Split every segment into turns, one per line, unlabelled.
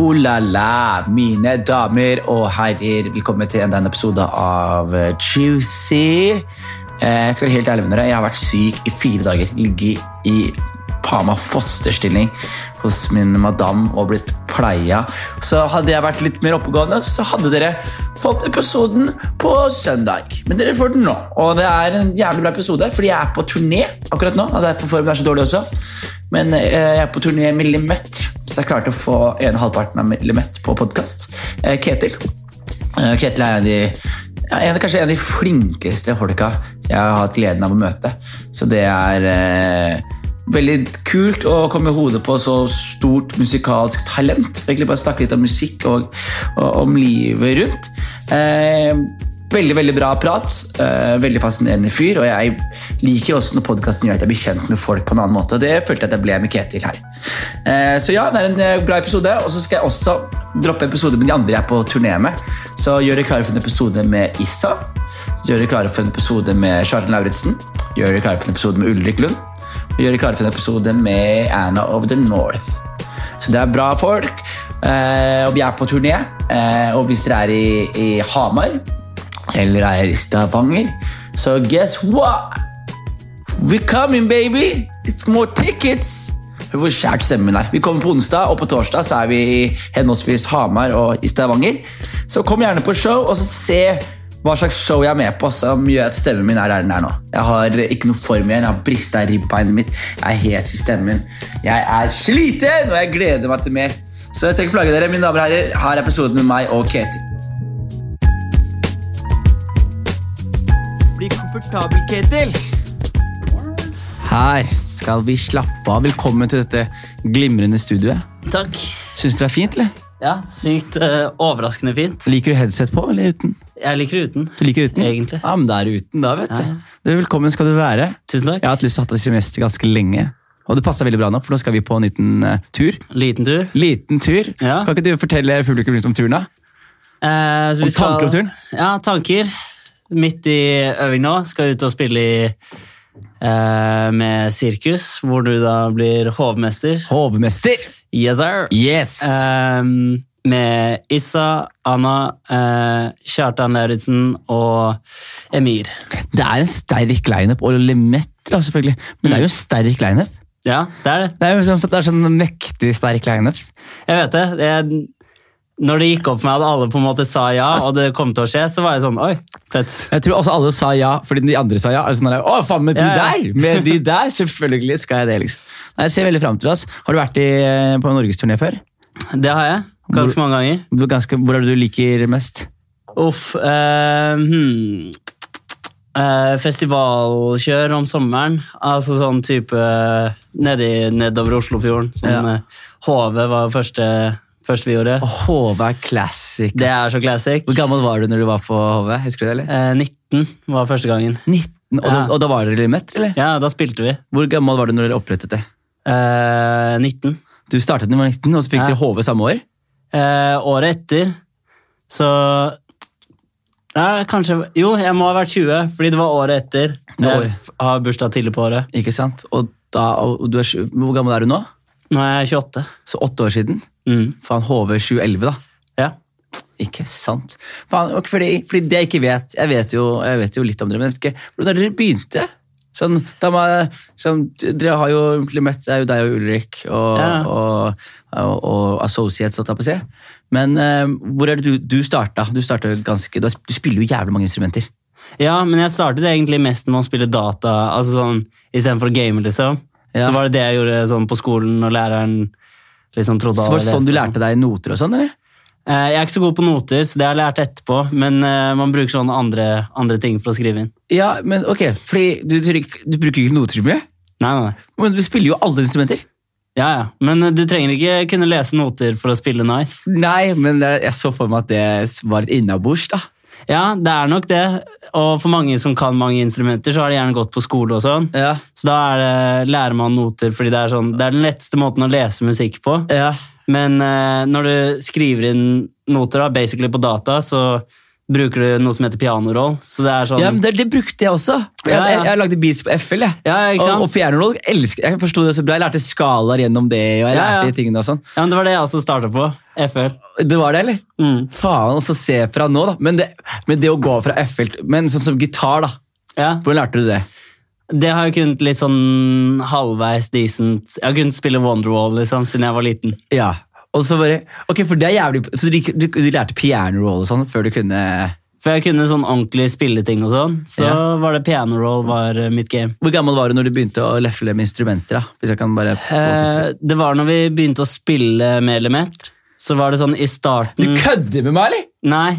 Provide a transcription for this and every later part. la, mine damer og herrer. Velkommen til enda en episode av eh, Juicy. Eh, Jeg skal være helt ærlig med dere, jeg har vært syk i fire dager. Ligget i Pama fosterstilling hos min madam og blitt pleia. Så hadde jeg vært litt mer oppegående, så hadde dere fått episoden på søndag. Men dere får den nå, og det er en jævlig bra episode, fordi jeg er på turné akkurat nå. Og derfor formen er så dårlig også. Men eh, jeg er på turné med Limett, så jeg klarte å få en halvparten av Limett på podkast. Ketil. Eh, Ketil er en av de ja, en, kanskje en av de flinkeste folka jeg har hatt gleden av å møte. Så det er eh, veldig kult å komme i hodet på så stort musikalsk talent. Egentlig bare snakke litt om musikk og, og om livet rundt. Eh, veldig veldig bra prat. Eh, veldig fascinerende fyr. Og jeg liker også når podkasten gjør at jeg blir kjent med folk på en annen måte. Og det følte jeg at jeg ble med Ketil her. Eh, så ja, det er en eh, bra episode. Og så skal jeg også droppe episoder med de andre jeg er på turné med. Så gjør dere klare for en episode med Issa. Gjør dere klare for en episode med Charlton Lauritzen. Gjør dere klare for en episode med Ulrik Lund. Og gjør dere klare for en episode med Anna of the North. Så det er bra folk. Eh, og vi er på turné. Eh, og hvis dere er i, i Hamar eller er i Stavanger, så guess what? We coming, baby! It's more tickets! Hør hvor skjært stemmen min er. Vi kommer på onsdag, og på torsdag så er vi i henholdsvis Hamar og i Stavanger. Så kom gjerne på show, og så se hva slags show jeg er med på, som gjør at stemmen min er der den er nå. Jeg har ikke noe form igjen, jeg har brista i ribbeinet mitt, jeg er hes i stemmen. Jeg er sliten, og jeg gleder meg til mer. Så jeg skal ikke plage dere, mine damer og herrer. Her er episoden med meg og Ketil. Bli komfortabel, Ketil. Her skal vi slappe av. Velkommen til dette glimrende studioet.
Takk.
Syns du det er fint, eller?
Ja, sykt eh, overraskende fint.
Liker du headset på eller uten?
Jeg liker det uten.
Du liker uten?
Egentlig.
Ja, men det er uten, da, vet du.
Ja, ja.
du. Velkommen skal du være.
Tusen
Jeg har
takk.
hatt lyst til å ha deg semester ganske lenge. Og det passer veldig bra nå, for nå skal vi på en liten eh, tur.
Liten tur.
Liten tur.
Ja.
Kan ikke du fortelle publikum litt om turen, da?
Eh, så
Om tanker om turen?
Ja, tanker. Midt i øving nå. Skal ut og spille i, eh, med sirkus, hvor du da blir hovmester.
Hovmester!
Yes, sir.
Yes!
Ehm, med Issa, Anna, eh, Kjartan Lauritzen og Emir.
Det er en sterk lineup, og Lemetra selvfølgelig. Men det er jo en sterk lineup.
Ja, det er det.
Det er jo sånn, det er sånn mektig sterk lineup.
Jeg vet det. Jeg, når det gikk opp for meg at alle på en måte sa ja, og det kom til å skje, så var jeg sånn Oi, fett.
Jeg tror også alle sa ja, fordi de andre sa ja. Altså, sånn der, Å, faen, med de
Ja, ja.
der! Med de der, Selvfølgelig skal jeg det, liksom. Nei, jeg ser veldig frem til oss. Har du vært i, eh, på en norgesturné før?
Det har jeg. Ganske mange ganger.
Du er Ganske, hvor er det du liker mest?
Uff. eh, hmm. Eh, festivalkjør om sommeren. Altså sånn type nedi, nedover Oslofjorden. Sånn
Ja.
eh, HV var første, første vi gjorde.
HV er classic.
Det er så classic.
Hvor gammel var du når du var på HV? Husker du det, eller?
Eh, 19 var første gangen.
19. Og, da,
Ja.
og da var dere litt mett, eller?
Ja, da spilte vi.
Hvor gammel var du når dere opprettet det?
Eh, 19.
Du startet da du var 19, og så fikk
Ja.
dere HV samme år?
Eh, året etter så Nei, kanskje Jo, jeg må ha vært 20, fordi det var året etter.
Det var-
Jeg f- har bursdag tidlig på året.
Ikke sant? Og da, og du er, sju- hvor gammel er du nå?
Nå er jeg 28.
Så åtte år siden?
Mm.
Faen, HV 711, da.
Ja.
Ikke sant. Faen, ok, fordi, fordi det jeg ikke vet Jeg vet jo, jeg vet jo litt om dere, men jeg vet ikke hvordan er det dere begynte? Sånn, da må, jeg- sånn, dere har jo egentlig møtt det er jo deg og Ulrik og,
Ja.
og, og, og Associates, holdt jeg på å si. Men eh, hvor er det du, du starta? Du, starta jo ganske, du har- du spiller jo jævlig mange instrumenter.
ja, men jeg startet egentlig mest med å spille data altså sånn, istedenfor å game, liksom.
Ja.
Så var det det jeg gjorde sånn, på skolen, og læreren liksom trodde
Så
alle
var det sånn du
leste.
lærte deg noter og sånn, eller?
Eh, Jeg er ikke så god på noter, så det har jeg lært etterpå, men eh, man bruker sånn andre, andre ting for å skrive inn.
Ja, men ok, fordi du, tryk- du bruker ikke noter så mye,
Nei, nei, nei.
men du spiller jo alle instrumenter.
Ja, ja. Men eh, du trenger ikke kunne lese noter for å spille nice.
Nei, men jeg, jeg så for meg at det var et innabords, da.
Ja, det er nok det. Og for mange som kan mange instrumenter, så har de gjerne gått på skole og sånn.
Ja,
Så da er det, lærer man noter, fordi det er, sånn, det er den letteste måten å lese musikk på.
ja.
Men eh, når du skriver inn noter, da, basically på data, så bruker du noe som heter pianoroll. Så det er sånn
Ja, men det, det brukte jeg også. Jeg,
Ja, ja.
jeg, jeg lagde beats på FL. Jeg.
Ja, ikke sant?
Og, og pianoroll elsker jeg. forstod det så bra. Jeg lærte skalaer gjennom det, og jeg
Ja, ja.
lærte de tingene og sånn.
Ja, men Det var det jeg også starta på. FL.
Det var det, eller?
Mm.
Faen, og så se fra nå, da. Men det, men det å gå fra FL Men sånn som gitar, da.
Ja.
Hvordan lærte du det?
Det har jeg kunnet litt sånn halvveis decent. Jeg har kunnet spille Wonderwall liksom, siden jeg var liten.
Ja. Og så bare Ok, for det er jævlig Så du, du, du lærte piano roll og sånn før du kunne
Før jeg kunne sånn ordentlig spilleting og sånn, så
Ja.
var det piano roll var eh, mitt game.
Hvor gammel var du når du begynte å lefle med instrumenter? da? Hvis jeg kan bare få
Eh,
tidsfri-
det var når vi begynte å spille med element, så var det sånn i
Du
starten
kødder med meg, eller?
Nei.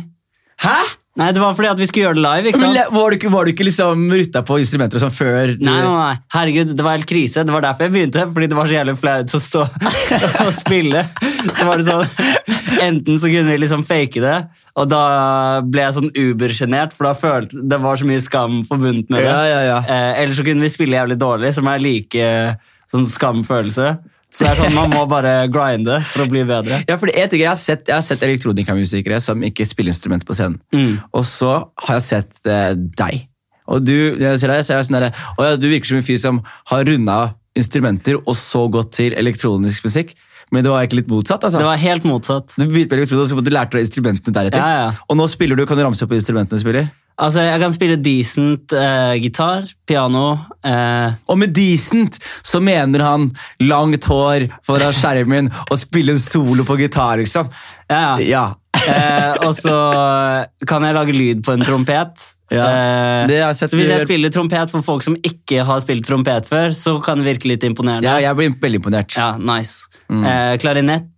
Hæ?
Nei, det var fordi at vi skulle gjøre det live, ikke
Men,
sant?
le- var, du, ikke- var du ikke liksom rutta på instrumenter og sånn før du
Nei, nei, nei. Herregud, det var helt krise. Det var derfor jeg begynte, fordi det var så jævlig flaut å stå og spille. Så var det sånn, enten så kunne vi liksom fake det, og da ble jeg sånn ubersjenert, for da følte det var så mye skam forbundet med det.
Ja, ja, ja.
Eh, eller så kunne vi spille jævlig dårlig, som er like sånn skamfølelse. Så det er sånn, man må bare grinde for å bli bedre.
Ja, for det er en ting jeg har sett, jeg har sett elektronikamusikere som ikke spiller instrumenter på scenen.
Mm.
Og så har jeg sett eh, deg. Og du, når jeg ser deg, så er jeg sånn der, «Å ja, du virker som en fyr som har runda instrumenter og så gått til elektronisk musikk. Men det var egentlig litt motsatt. altså.
Det var helt motsatt.
Du begynte med elektronikk, og så du lærte deg instrumentene deretter.
Ja, ja.
Og nå spiller du, kan du ramse opp instrumentene du spiller?
Altså, jeg kan spille decent eh, gitar, piano, eh,
Og med decent så mener han langt hår foran skjermen og spille en solo på gitar, liksom.
ja, ja.
Ja,
Eh, og så kan jeg lage lyd på en trompet.
Ja,
Eh,
det har jeg sett
så hvis
du
jeg
gjør.
spiller trompet for folk som ikke har spilt trompet før, så kan det virke litt imponerende.
ja jeg blir veldig imponert.
Ja, nice. Eh, klarinett.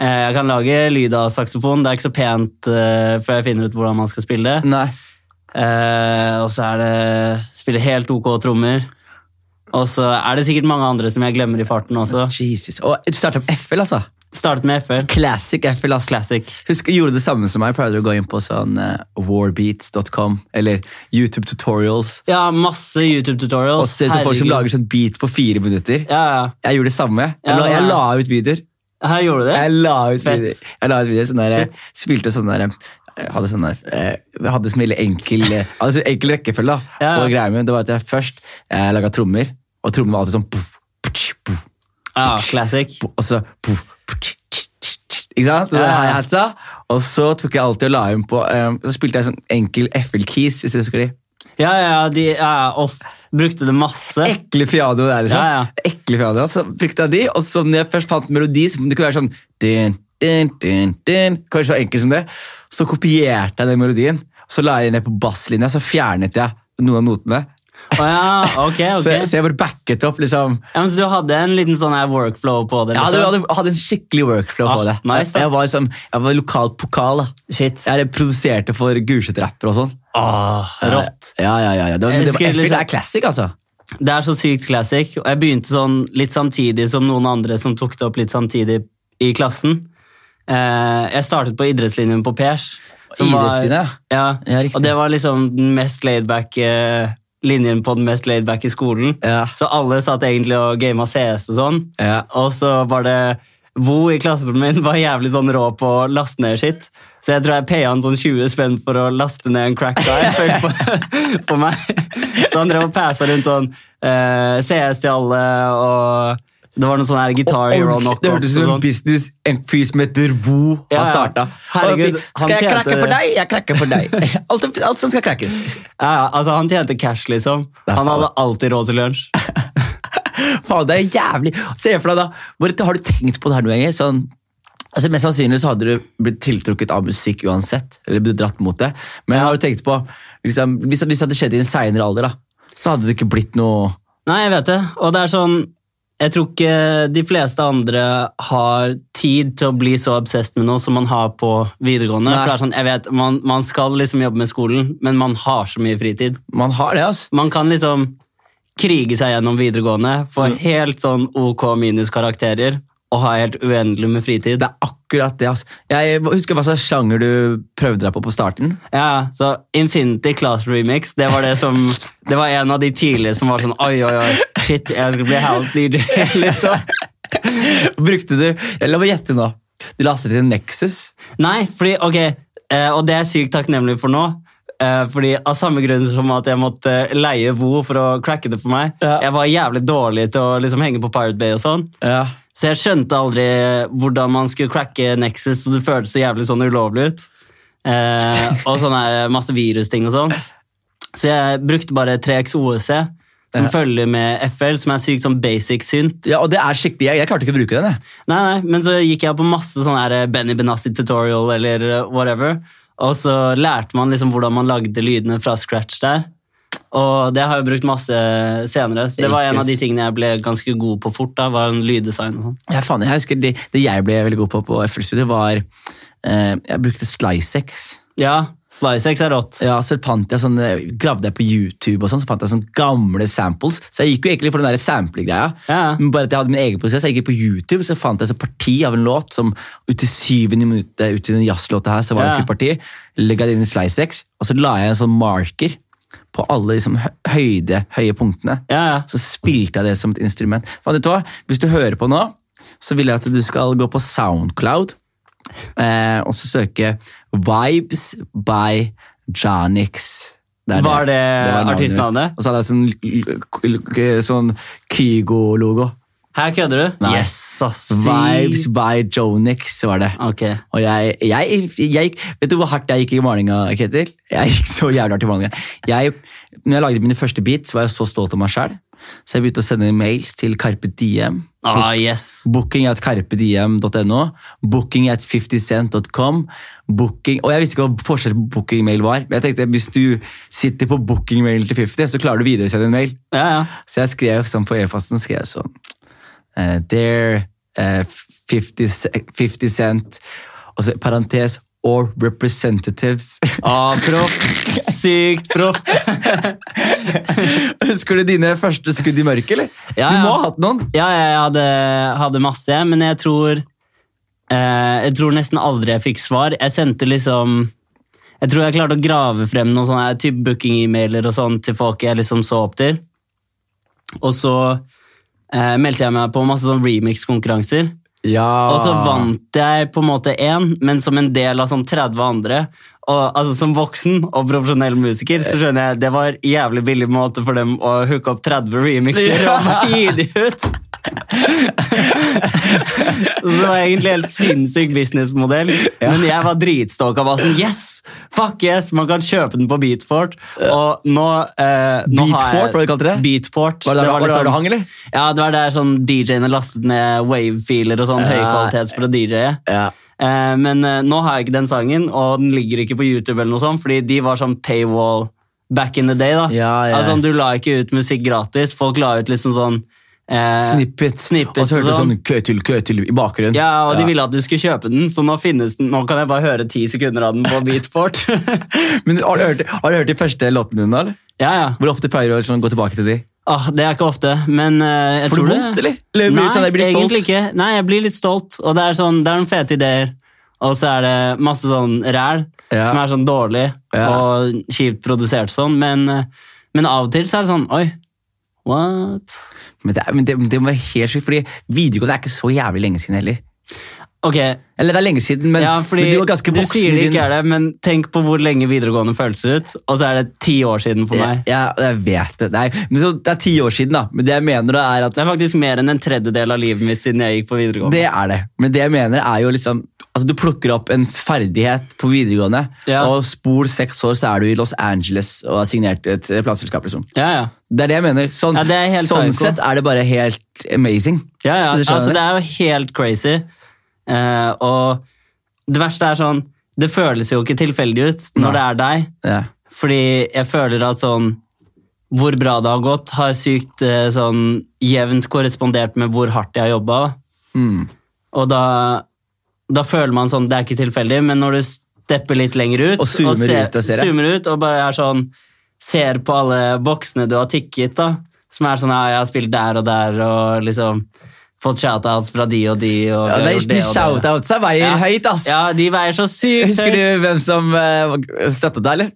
Eh, jeg kan lage lyd av saksofon. Det er ikke så pent eh, før jeg finner ut hvordan man skal spille det.
Nei.
Eh, og så er det spille helt ok trommer. Og så er det sikkert mange andre som jeg glemmer i farten også.
Jesus. Og du startet opp FL, altså.
Startet med FL.
Classic FL, ass.
Classic.
Husk, gjorde du det samme som meg? Prøvde du å gå inn på sånn eh, warbeats.com eller YouTube tutorials
Ja, masse
og
YouTube-tutorials.
se sånn folk som
Herregud.
lager sånn beat på fire minutter?
ja, ja.
Jeg gjorde det samme. Jeg
Ja,
la, jeg
ja.
la ut videoer.
Her gjorde du det?
Jeg la ut
Fett.
videoer. Jeg la ut videoer sånn der, eh, spilte sånn der eh, hadde sånn der, eh, jeg hadde sånn veldig enkel, eh, hadde sånn enkel rekkefølge. da.
Ja, ja.
Og greia med det var at jeg først eh, laga trommer, og trommene var alltid sånn puff, putsch, puff,
Ja, classic.
og så puff, puff, ikke sant? Det der
Ja.
hi-hatsa. sånn. Og så tok jeg alltid og la inn på eh, Så spilte jeg sånn enkel FL-keys, hvis du husker de.
Ja, ja, de ja, off. brukte det masse.
Ekle piano der, liksom.
Ja, ja.
Ekle piano, Så brukte jeg de, og så når jeg først fant melodi, så det kunne være sånn dun, dun, dun, dun. Kanskje så enkelt som det. Så kopierte jeg den melodien, så la jeg den ned på basslinja, så fjernet jeg noen av notene.
Å ja, ok,
Så, jeg,
ok.
så jeg bare backet opp, liksom.
Ja, men så du hadde en liten sånn her workflow på det?
Ja, du
liksom?
hadde, hadde en skikkelig workflow
Ah,
på det.
nice, da.
jeg, var liksom, jeg var lokal pokal. da.
Shit.
Jeg produserte for Gulset-rapper og sånn.
Åh, rått.
Ja, ja, ja. ja. Det, var- men
Jeg
det, var,
husker
FL
liksom-
er classic, altså.
Det er så sykt classic. Og jeg begynte sånn litt samtidig som noen andre som tok det opp litt samtidig i klassen. Eh, jeg startet på idrettslinjen på Pers. som var-
Idrettslinja, ja.
Ja,
Ja, riktig.
og det var liksom den mest laidback linjen på den mest laidback i skolen.
Ja.
Så alle satt egentlig og gama CS og sånn.
Ja.
Og så var det Vo i klasserommet min var jævlig sånn rå på å laste ned shit. Så jeg tror jeg paya han sånn 20 spenn for å laste ned en crack guy for, for, for meg. Så han drev og passa rundt sånn eh, CS til alle, og det var noen sånne her guitar hero
Ordentlig.
knock
Det hørtes ut som en business en fyr som heter Vo
sånn. Ja,
har
ja.
starta.
Herregud,
skal
han
jeg
tjente
krakke
det.
for deg? Jeg krakker for deg. alt, alt som skal krakkes.
Ja, ja, altså Han tjente cash, liksom.
Det er
Han
faen.
hadde alltid råd til lunsj.
Faen, det er jævlig. Se for deg da, hvor- Har du tenkt på det her noen ganger? Sånn, altså Mest sannsynlig så hadde du blitt tiltrukket av musikk uansett. Eller blitt dratt mot det. Men har du tenkt på liksom, hvis, hvis det hadde skjedd i en seinere alder, da, så hadde det ikke blitt noe
Nei, jeg vet det. Og det er sånn Jeg tror ikke de fleste andre har tid til å bli så obsessed med noe som man har på videregående.
Nei.
For det er sånn, jeg vet, man, man skal liksom jobbe med skolen, men man har så mye fritid.
Man har det, altså.
Man kan liksom krige seg gjennom videregående, få helt sånn OK minuskarakterer og ha helt uendelig med fritid.
Det er akkurat det. altså. Jeg husker hva slags sjanger du prøvde deg på på starten.
Ja, så Infinity Class Remix, det var det som Det var en av de tidlige som var sånn Oi, oi, oi, shit, jeg skal bli house DJ, liksom.
Brukte du Jeg La meg gjette nå. Du lastet inn en Nexus.
Nei, fordi, ok, eh, og det er jeg sykt takknemlig for nå. eh, Fordi Av samme grunn som at jeg måtte leie Vo for å cracke det for meg.
Ja.
Jeg var jævlig dårlig til å liksom henge på Pirate Bay og sånn.
Ja.
Så jeg skjønte aldri hvordan man skulle cracke Nexus, så det føltes så jævlig sånn ulovlig ut. Eh, og sånn her masse virusting og sånn. Så jeg brukte bare 3X OEC, E, som følger med FL, som er sykt sånn basic synt.
Ja, og det er skikkelig, Jeg, jeg klarte ikke å bruke den. jeg.
Nei, nei, men så gikk jeg på masse sånn her eh, Benny Benassi tutorial eller eh, whatever, og så lærte man liksom hvordan man lagde lydene fra scratch der. Og det har jeg brukt masse eh, senere, så det var en av de tingene jeg ble ganske god på fort. da, var en lyddesign og sånn.
Ja, faen, jeg husker Det, det jeg ble veldig god på på FL Studio, var eh, Jeg brukte SliceX.
Ja, SliceX er rått.
Ja, så fant jeg sånne, gravde jeg på YouTube og sånn, så fant jeg sånne gamle samples. Så jeg gikk jo egentlig for den der sample-greia.
Ja.
Men bare at jeg hadde min egen prosess. Jeg gikk på YouTube, så fant jeg et parti av en låt som ut i syvende minutt eh, ut i den jazzlåta her, så var det
Ja.
ikke et parti. Legga det inn i SliceX, og så la jeg en sånn marker på alle liksom, hø- høyde, høye punktene.
Ja, ja.
Så spilte jeg det som et instrument. Faen, vet du hva? Hvis du hører på nå, så vil jeg at du skal gå på Soundcloud eh, og så søke Vibes by Janix. er
Var det
navnet mitt.
artistnavnet?
Og så hadde jeg sånn, l- l- k- sånn Kygo-logo.
Her kødder du?
Nei.
Yes, ass. Ah, fy.
Vibes by Jonix var det.
Ok.
Og jeg, jeg, jeg gikk- Vet du hvor hardt jeg gikk i malinga, Ketil? Jeg gikk så jævlig hardt i malinga. Jeg, når jeg lagde mine første beats, var jeg så stolt av meg sjæl. Så jeg begynte å sende mails til Carpe Diem.
Ah, yes.
Booking at carpediem.no. Booking at 50cent.com. Booking, og jeg visste ikke hva forskjell på bookingmail var. Men jeg tenkte hvis du sitter på bookingmailen til 50, så klarer du å videresende en mail.
Ja, ja.
Så jeg skrev sånn på e-fasten skrev jeg sånn eh, Dear eh, 50, ce- 50 cent Og så parentes Or representatives
Ah, proft. Sykt proft.
Husker du dine første skudd i mørket, eller?
Ja,
Du må
ja.
ha hatt noen
Ja, jeg hadde, hadde masse, men jeg tror eh, Jeg tror nesten aldri jeg fikk svar. Jeg sendte liksom Jeg tror jeg klarte å grave frem noen sånne her type booking-emailer og sånn til folk jeg liksom så opp til. Og så eh, meldte jeg meg på masse sånn remix-konkurranser.
Ja
Og så vant jeg på en måte én, men som en del av sånn 30 andre. Og, altså Som voksen og profesjonell musiker så skjønner jeg det var jævlig billig måte for dem å hooke opp 30 remixer
Ja.
og bare gi de ut. Så det var egentlig helt sinnssyk businessmodell, men jeg var dritstolt av bare sånn Yes! Fuck yes! Man kan kjøpe den på Beatport. Og nå, eh, nå har
Beatport,
jeg-
var det kalt det?
Beatport. liksom-
Var liksom- det der- var det der det hang, eller?
Ja, det var der sånn DJ-ene lastet ned wave-filer og sånn
Ja.
høykvalitets for å DJ-e.
Ja.
Eh, men eh, nå har jeg ikke den sangen, og den ligger ikke på YouTube, eller noe sånt, fordi de var sånn paywall back in the day. da.
Ja, ja.
Altså, Du la ikke ut musikk gratis. Folk la ut liksom sånn eh,
Snippet,
Snippets
Og så hørte du
og
sånn
sånn.
køtil, køtil i bakgrunnen
Ja, og de ville at du skulle kjøpe den, så nå finnes den. Nå kan jeg bare høre ti sekunder av den på Beatport.
Men har du, hørt, har du hørt de første låtene dine, eller?
ja, ja.
Hvor ofte pleier du å liksom, gå tilbake til de?
Ah, det er ikke ofte, men eh, jeg
Får du
tror
vondt,
det.
eller? Eller blir du
Nei,
sånn, jeg blir stolt?
egentlig ikke. Nei, jeg blir litt stolt, og det er, sånn, det er noen fete ideer. Og så er det masse sånn ræl,
Ja.
som er sånn dårlig
Ja.
og kjipt produsert sånn, men, eh, men av og til så er det sånn, oi, what?
Men det, er- men det, det må være helt sykt Fordi videregående er ikke så jævlig lenge siden heller
Ok,
Eller det er lenge siden, men,
ja, fordi
men du var ganske
du
voksen
sier
i
det
din
ikke er det, men tenk på hvor lenge videregående føles ut, og så er det ti år siden for meg.
Ja, ja, jeg vet det. Nei, men så, det er ti år siden, da. Men det jeg mener da er at
Det er faktisk mer enn en tredjedel av livet mitt siden jeg gikk på videregående.
Det er det. Men det jeg mener er jo liksom Altså, Du plukker opp en ferdighet på videregående,
Ja.
og spor seks år så er du i Los Angeles og har signert et eh, plateselskap. liksom.
Ja, ja.
Det er det jeg mener. Sånn,
Ja, det er helt
sånn
psycho.
sett er det bare helt amazing.
Ja, ja.
Du skjønner
Altså,
det?
det er jo helt crazy. Eh, og det verste er sånn Det føles jo ikke tilfeldig ut når det er deg,
Ja.
fordi jeg føler at sånn hvor bra det har gått, har sykt eh, sånn jevnt korrespondert med hvor hardt jeg har jobba.
Mm.
Og da, da føler man sånn Det er ikke tilfeldig, men når du stepper litt lenger ut
Og zoomer ut og ser det.
zoomer ut og bare er sånn Ser på alle boksene du har tikket, da. Som er sånn ja, 'Jeg har spilt der og der', og liksom fått shoutouts fra de og de. Og
Ja,
vi har
de
gjort
de
det og det.
shoutoutsa veier
Ja.
høyt, ass!
Ja, de veier så sykt
Husker
høyt.
du hvem som uh, støtta deg, eller?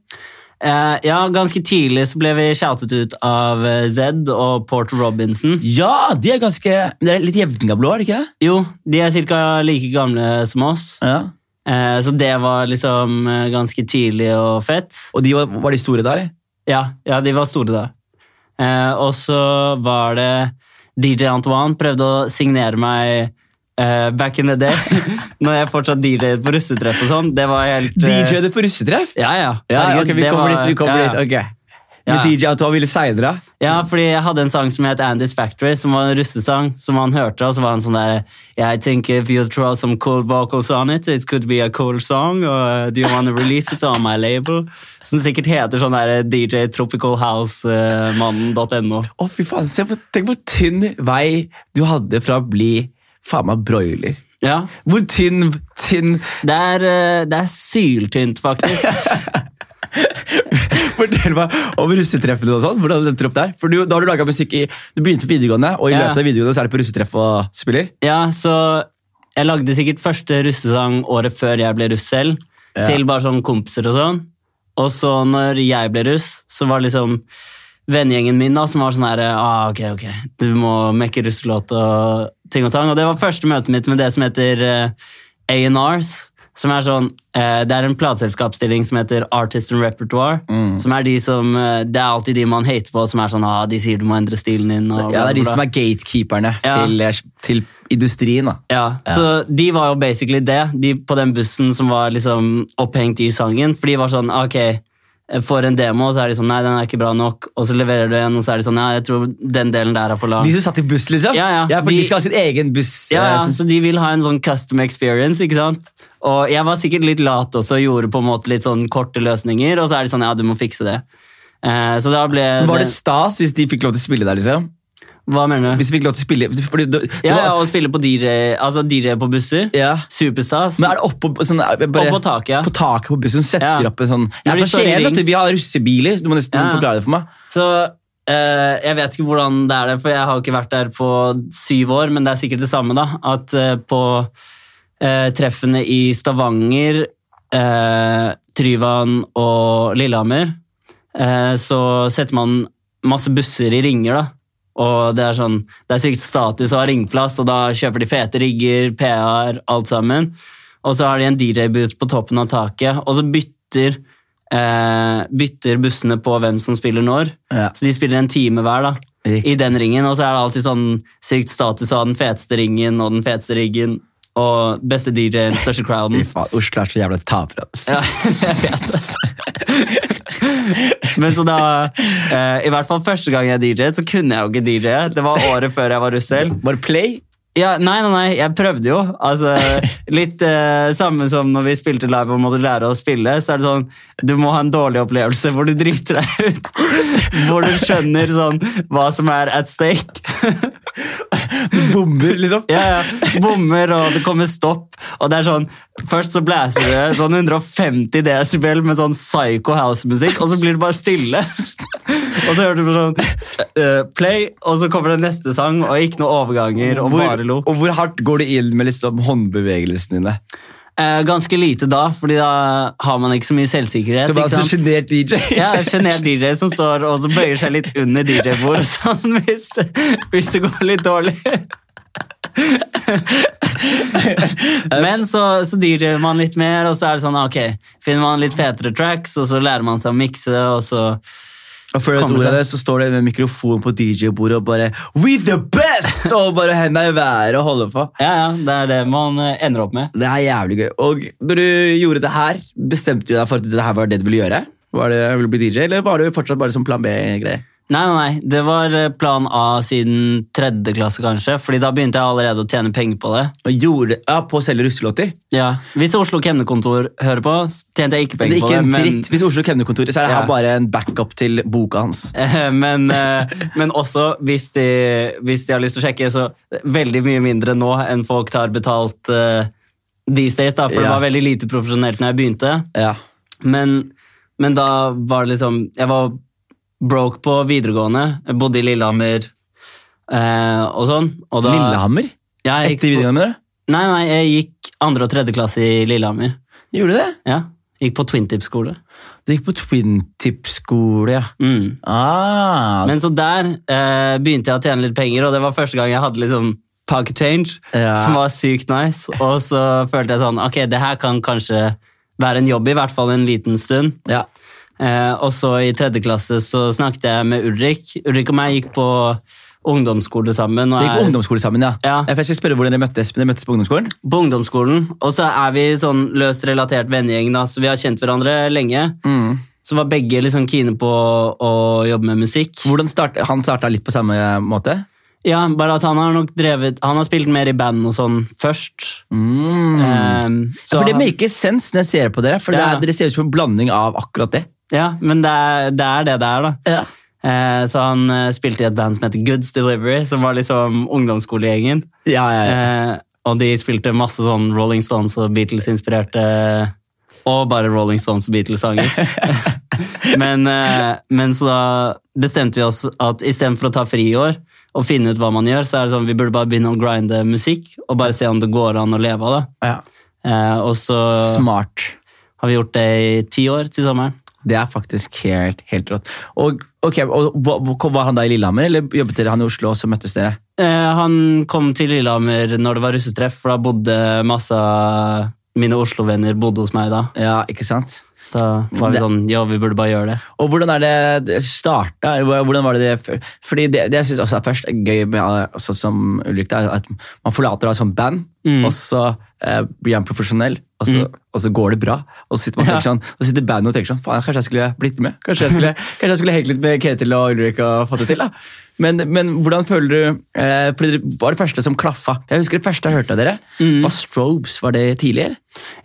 Eh, ja, ganske tidlig så ble vi shoutet ut av eh, Zed og Porter Robinson.
Ja, de er ganske De er litt jevngamle, er de ikke det?
Jo, de er ca. like gamle som oss.
Ja.
Eh, så det var liksom eh, ganske tidlig og fett.
Og de var, var de store da, eller?
Ja, ja de var store da. Eh, og så var det DJ Antoine prøvde å signere meg eh, back in the day. når jeg fortsatt DJ-et på russetreff og sånn. Det var helt eh,
DJ-et på russetreff?
Ja, ja.
Ja,
Herregud,
ok, vi
det
kommer
var-
dit. vi kommer
ja, ja.
dit, ok. Men
Ja.
DJ Antoine ville seinere.
Ja, fordi jeg hadde en sang som het Andy's Factory, som var en russesang som han hørte, og så var han sånn der I think if you throw some cool vocals on it, it could be a cool song, or uh, do you want to release it on my label? Som sikkert heter sånn der DJ Tropical eh, House-mannen.no.
Å, fy faen, se på, Tenk hvor tynn vei du hadde fra å bli faen meg broiler.
Ja,
Hvor tynn, tynn
det er, eh, det er syltynt, faktisk.
Fortell meg om russetreffene og sånn. hvordan endte du opp der? For du, Da har du laget musikk i Du begynte på videregående, og i
Ja.
løpet av videregående så er du på russetreff og spiller?
Ja, så jeg lagde sikkert første russesang året før jeg ble russ selv,
Ja.
til bare sånn kompiser og sånn. Og så når jeg ble russ, så var liksom vennegjengen min da, som var sånn her, ah, ok, ok, du må mekke russelåt og ting og tang. Og det var første møtet mitt med det som heter eh, A&Rs, som er sånn, eh, det er en plateselskapsstilling som heter Artist and Repertoire,
Mm.
som er de som, eh, det er alltid de man hater på, som er sånn, ah, de sier du må endre stilen din. Og
Ja, det er de
bla, bla, bla.
som er gatekeeperne
Ja.
til, eh, til industrien, da.
Ja, så de var jo basically det, de på den bussen som var liksom opphengt i sangen, for de var sånn, ok, for en demo, så er de sånn, nei, den er ikke bra nok, og så leverer du en, og så er de sånn, ja, jeg tror den delen der er for lang.
De som satt i buss, liksom?
Ja, ja.
for de,
De-
skal ha sin egen buss.
Ja,
eh,
ja,
som-
så de vil ha en sånn custom experience, ikke sant? Og jeg var sikkert litt lat også, og gjorde på en måte litt sånn korte løsninger, og så er de sånn, ja, du må fikse det. Eh, så da ble
Men Var det stas hvis de fikk lov til å spille der, liksom?
Hva mener du?
Hvis de fikk lov til å spille fordi, det, det
Ja,
var,
ja, å spille på DJ, altså DJ på busser.
Ja.
Superstas.
Men er det oppå sånn, er det bare,
Og på taket, ja.
På taket på bussen setter
Ja.
opp en sånn Jeg
Når
er
de
fra
står i
Skien,
ring.
vet du. Vi har russebiler. Du må nesten
Ja.
forklare det for meg.
Så eh, jeg vet ikke hvordan det er der, for jeg har ikke vært der på syv år, men det er sikkert det samme, da. At eh, på eh, treffene i Stavanger, eh, Tryvann og Lillehammer, eh, så setter man masse busser i ringer, da. Og det er sånn, det er sykt status å ha ringplass, og da kjøper de fete rigger, PA-er, alt sammen. Og så har de en DJ-boot på toppen av taket, og så bytter, eh, bytter bussene på hvem som spiller når.
Ja.
Så de spiller en time hver da,
Riktig.
i den ringen, og så er det alltid sånn sykt status å ha den feteste ringen og den feteste riggen, og beste DJ-en, største crowden.
Fy faen, Oslo er så jævla tapere. ass.
Men så da, eh, i hvert fall første gang jeg DJ-et, så kunne jeg jo ikke DJ. Det var året før jeg var russ selv.
Bare play.
Ja, nei, nei, nei, jeg prøvde jo. Altså, litt eh, samme som når vi spilte live og måtte lære å spille, så er det sånn, du må ha en dårlig opplevelse hvor du driter deg ut. Hvor du skjønner sånn, hva som er at stake.
Du bommer, liksom.
Ja, ja. Bommer, og det kommer stopp. Og det er sånn, Først så blæser det sånn 150 desibel med sånn psycho house-musikk, og så blir det bare stille. Og så hører du på sånn eh, play, og så kommer det neste sang, og ikke noe overganger, og
Hvor,
bare lo.
og hvor hardt går du inn med liksom håndbevegelsene dine?
Eh, ganske lite da, fordi da har man ikke så mye selvsikkerhet.
Som en
ikke
så
sant?
sjenert DJ.
sånn- Ja, en sjenert DJ som står og så bøyer seg litt under DJ-bordet sånn, hvis, hvis det går litt dårlig. Men så, så DJ-er man litt mer, og så er det sånn, ok, finner man litt fetere tracks, og så lærer man seg å mikse, og så
Og før du vet
Kommer
ordet av
seg.
det, så står det med mikrofon på DJ-bordet og bare We the best! Og bare hendene i været og holder på.
Ja, ja, det er det man eh, ender opp med.
Det er jævlig gøy. Og når du gjorde det her, bestemte du deg for at det her var det du ville gjøre? Var det vil du bli DJ, Eller var du fortsatt bare som plan B-greie?
Nei, nei, nei, det var eh, plan A siden tredje klasse, kanskje, fordi da begynte jeg allerede å tjene penger på det.
Og gjorde ja, På å selge russelåter?
Ja, Hvis Oslo kemnerkontor hører på, så tjente jeg ikke
Det er
penger på
ikke
det.
en
men-
dritt. Hvis Oslo Kemnerkontoret, så er det her
Ja.
bare en backup til boka hans.
Eh, Men, eh, men også, hvis de, hvis de har lyst til å sjekke, så veldig mye mindre nå enn folk tar betalt eh, these days, da, for det
Ja.
var veldig lite profesjonelt når jeg begynte.
Ja.
Men, men da var det liksom Jeg var broke på videregående, jeg bodde i Lillehammer eh, og sånn. Og da,
Lillehammer?
Ja, jeg gikk
Etter
på,
videregående?
nei, nei, jeg gikk andre og tredje klasse i Lillehammer.
Gjorde du det?
Ja, Gikk på Twintip-skole.
Du gikk på Twin Tip-skole, ja.
Mm.
Ah,
Men så der eh, begynte jeg å tjene litt penger, og det var første gang jeg hadde liksom pocket change,
Ja.
som var sykt nice. Og så følte jeg sånn, ok, det her kan kanskje være en jobb, i hvert fall en liten stund.
ja.
Eh, og så i tredje klasse så snakket jeg med Ulrik. Ulrik og meg gikk på ungdomsskole sammen. Og
Dere gikk
er
ungdomsskole sammen, ja.
Ja.
For Jeg skal spørre hvordan dere møttes, men dere møttes på ungdomsskolen?
på ungdomsskolen. Og så er vi sånn løst relatert vennegjeng, da, så vi har kjent hverandre lenge.
Mm.
Så var begge liksom kine på å, å jobbe med musikk.
Hvordan start, han starta litt på samme måte?
Ja, bare at han har nok drevet Han har spilt mer i band og sånn først.
Mm.
Ehm,
Ja,
så
for Det
han-
maker sens når jeg ser på dere, for det
Ja.
er, dere ser ut som en blanding av akkurat det.
Ja, men det er det er det, det er, da.
Ja.
Eh, så han eh, spilte i et band som heter Goods Delivery, som var liksom ungdomsskolegjengen.
Ja, ja, ja.
Eh, og de spilte masse sånn Rolling Stones og Beatles-inspirerte Og bare Rolling Stones og Beatles-sanger. men, eh, men så da bestemte vi oss at istedenfor å ta friår og finne ut hva man gjør, så er det sånn vi burde bare begynne å grinde musikk og bare se om det går an å leve av det.
ja.
Eh, og så
Smart.
har vi gjort det i ti år til sommeren.
Det er faktisk helt, helt rått. Og, ok, og hva- hva- Var han da i Lillehammer, eller jobbet dere han i Oslo, og så møttes dere?
Eh, han kom til Lillehammer når det var russetreff, for da bodde masse av mine Oslo-venner bodde hos meg da.
Ja, ikke sant?
Så var vi
Det-
sånn, ja, vi burde bare gjøre det.
Og hvordan er det det starta? eller hvor- Hvordan var det det før? Fordi det, det jeg synes også er først gøy med eh, sånn som Ulrik, det er at man forlater da et sånt band,
Mm.
og så eh, blir han profesjonell, og så, og så går det bra. Og så sitter man og tenker sånn, og så sitter bandet og tenker sånn, faen, kanskje jeg skulle blitt med? Kanskje jeg skulle, kanskje jeg skulle hekt litt med Ketil og Ulrik og fått det til, da? Men, men hvordan føler du eh, fordi Dere var det første som klaffa. Jeg husker det første jeg hørte av dere, var Strobes. Var det tidligere?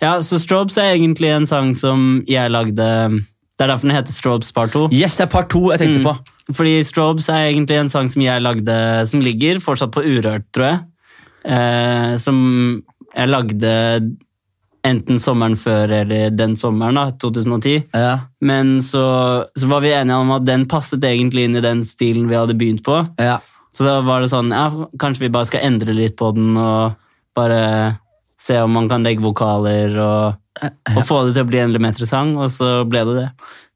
Ja, så Strobes er egentlig en sang som jeg lagde Det er derfor den heter Strobes part 2.
Yes, det er part to jeg tenkte på.
Fordi Strobes er egentlig en sang som jeg lagde, som ligger fortsatt på Urørt, tror jeg. Eh, som jeg lagde enten sommeren før eller den sommeren, da, 2010.
Ja.
Men så, så var vi enige om at den passet egentlig inn i den stilen vi hadde begynt på.
ja.
Så da var det sånn, ja, kanskje vi bare skal endre litt på den, og bare se om man kan legge vokaler, og, og få det til å bli en litt lettere sang, og så ble det det.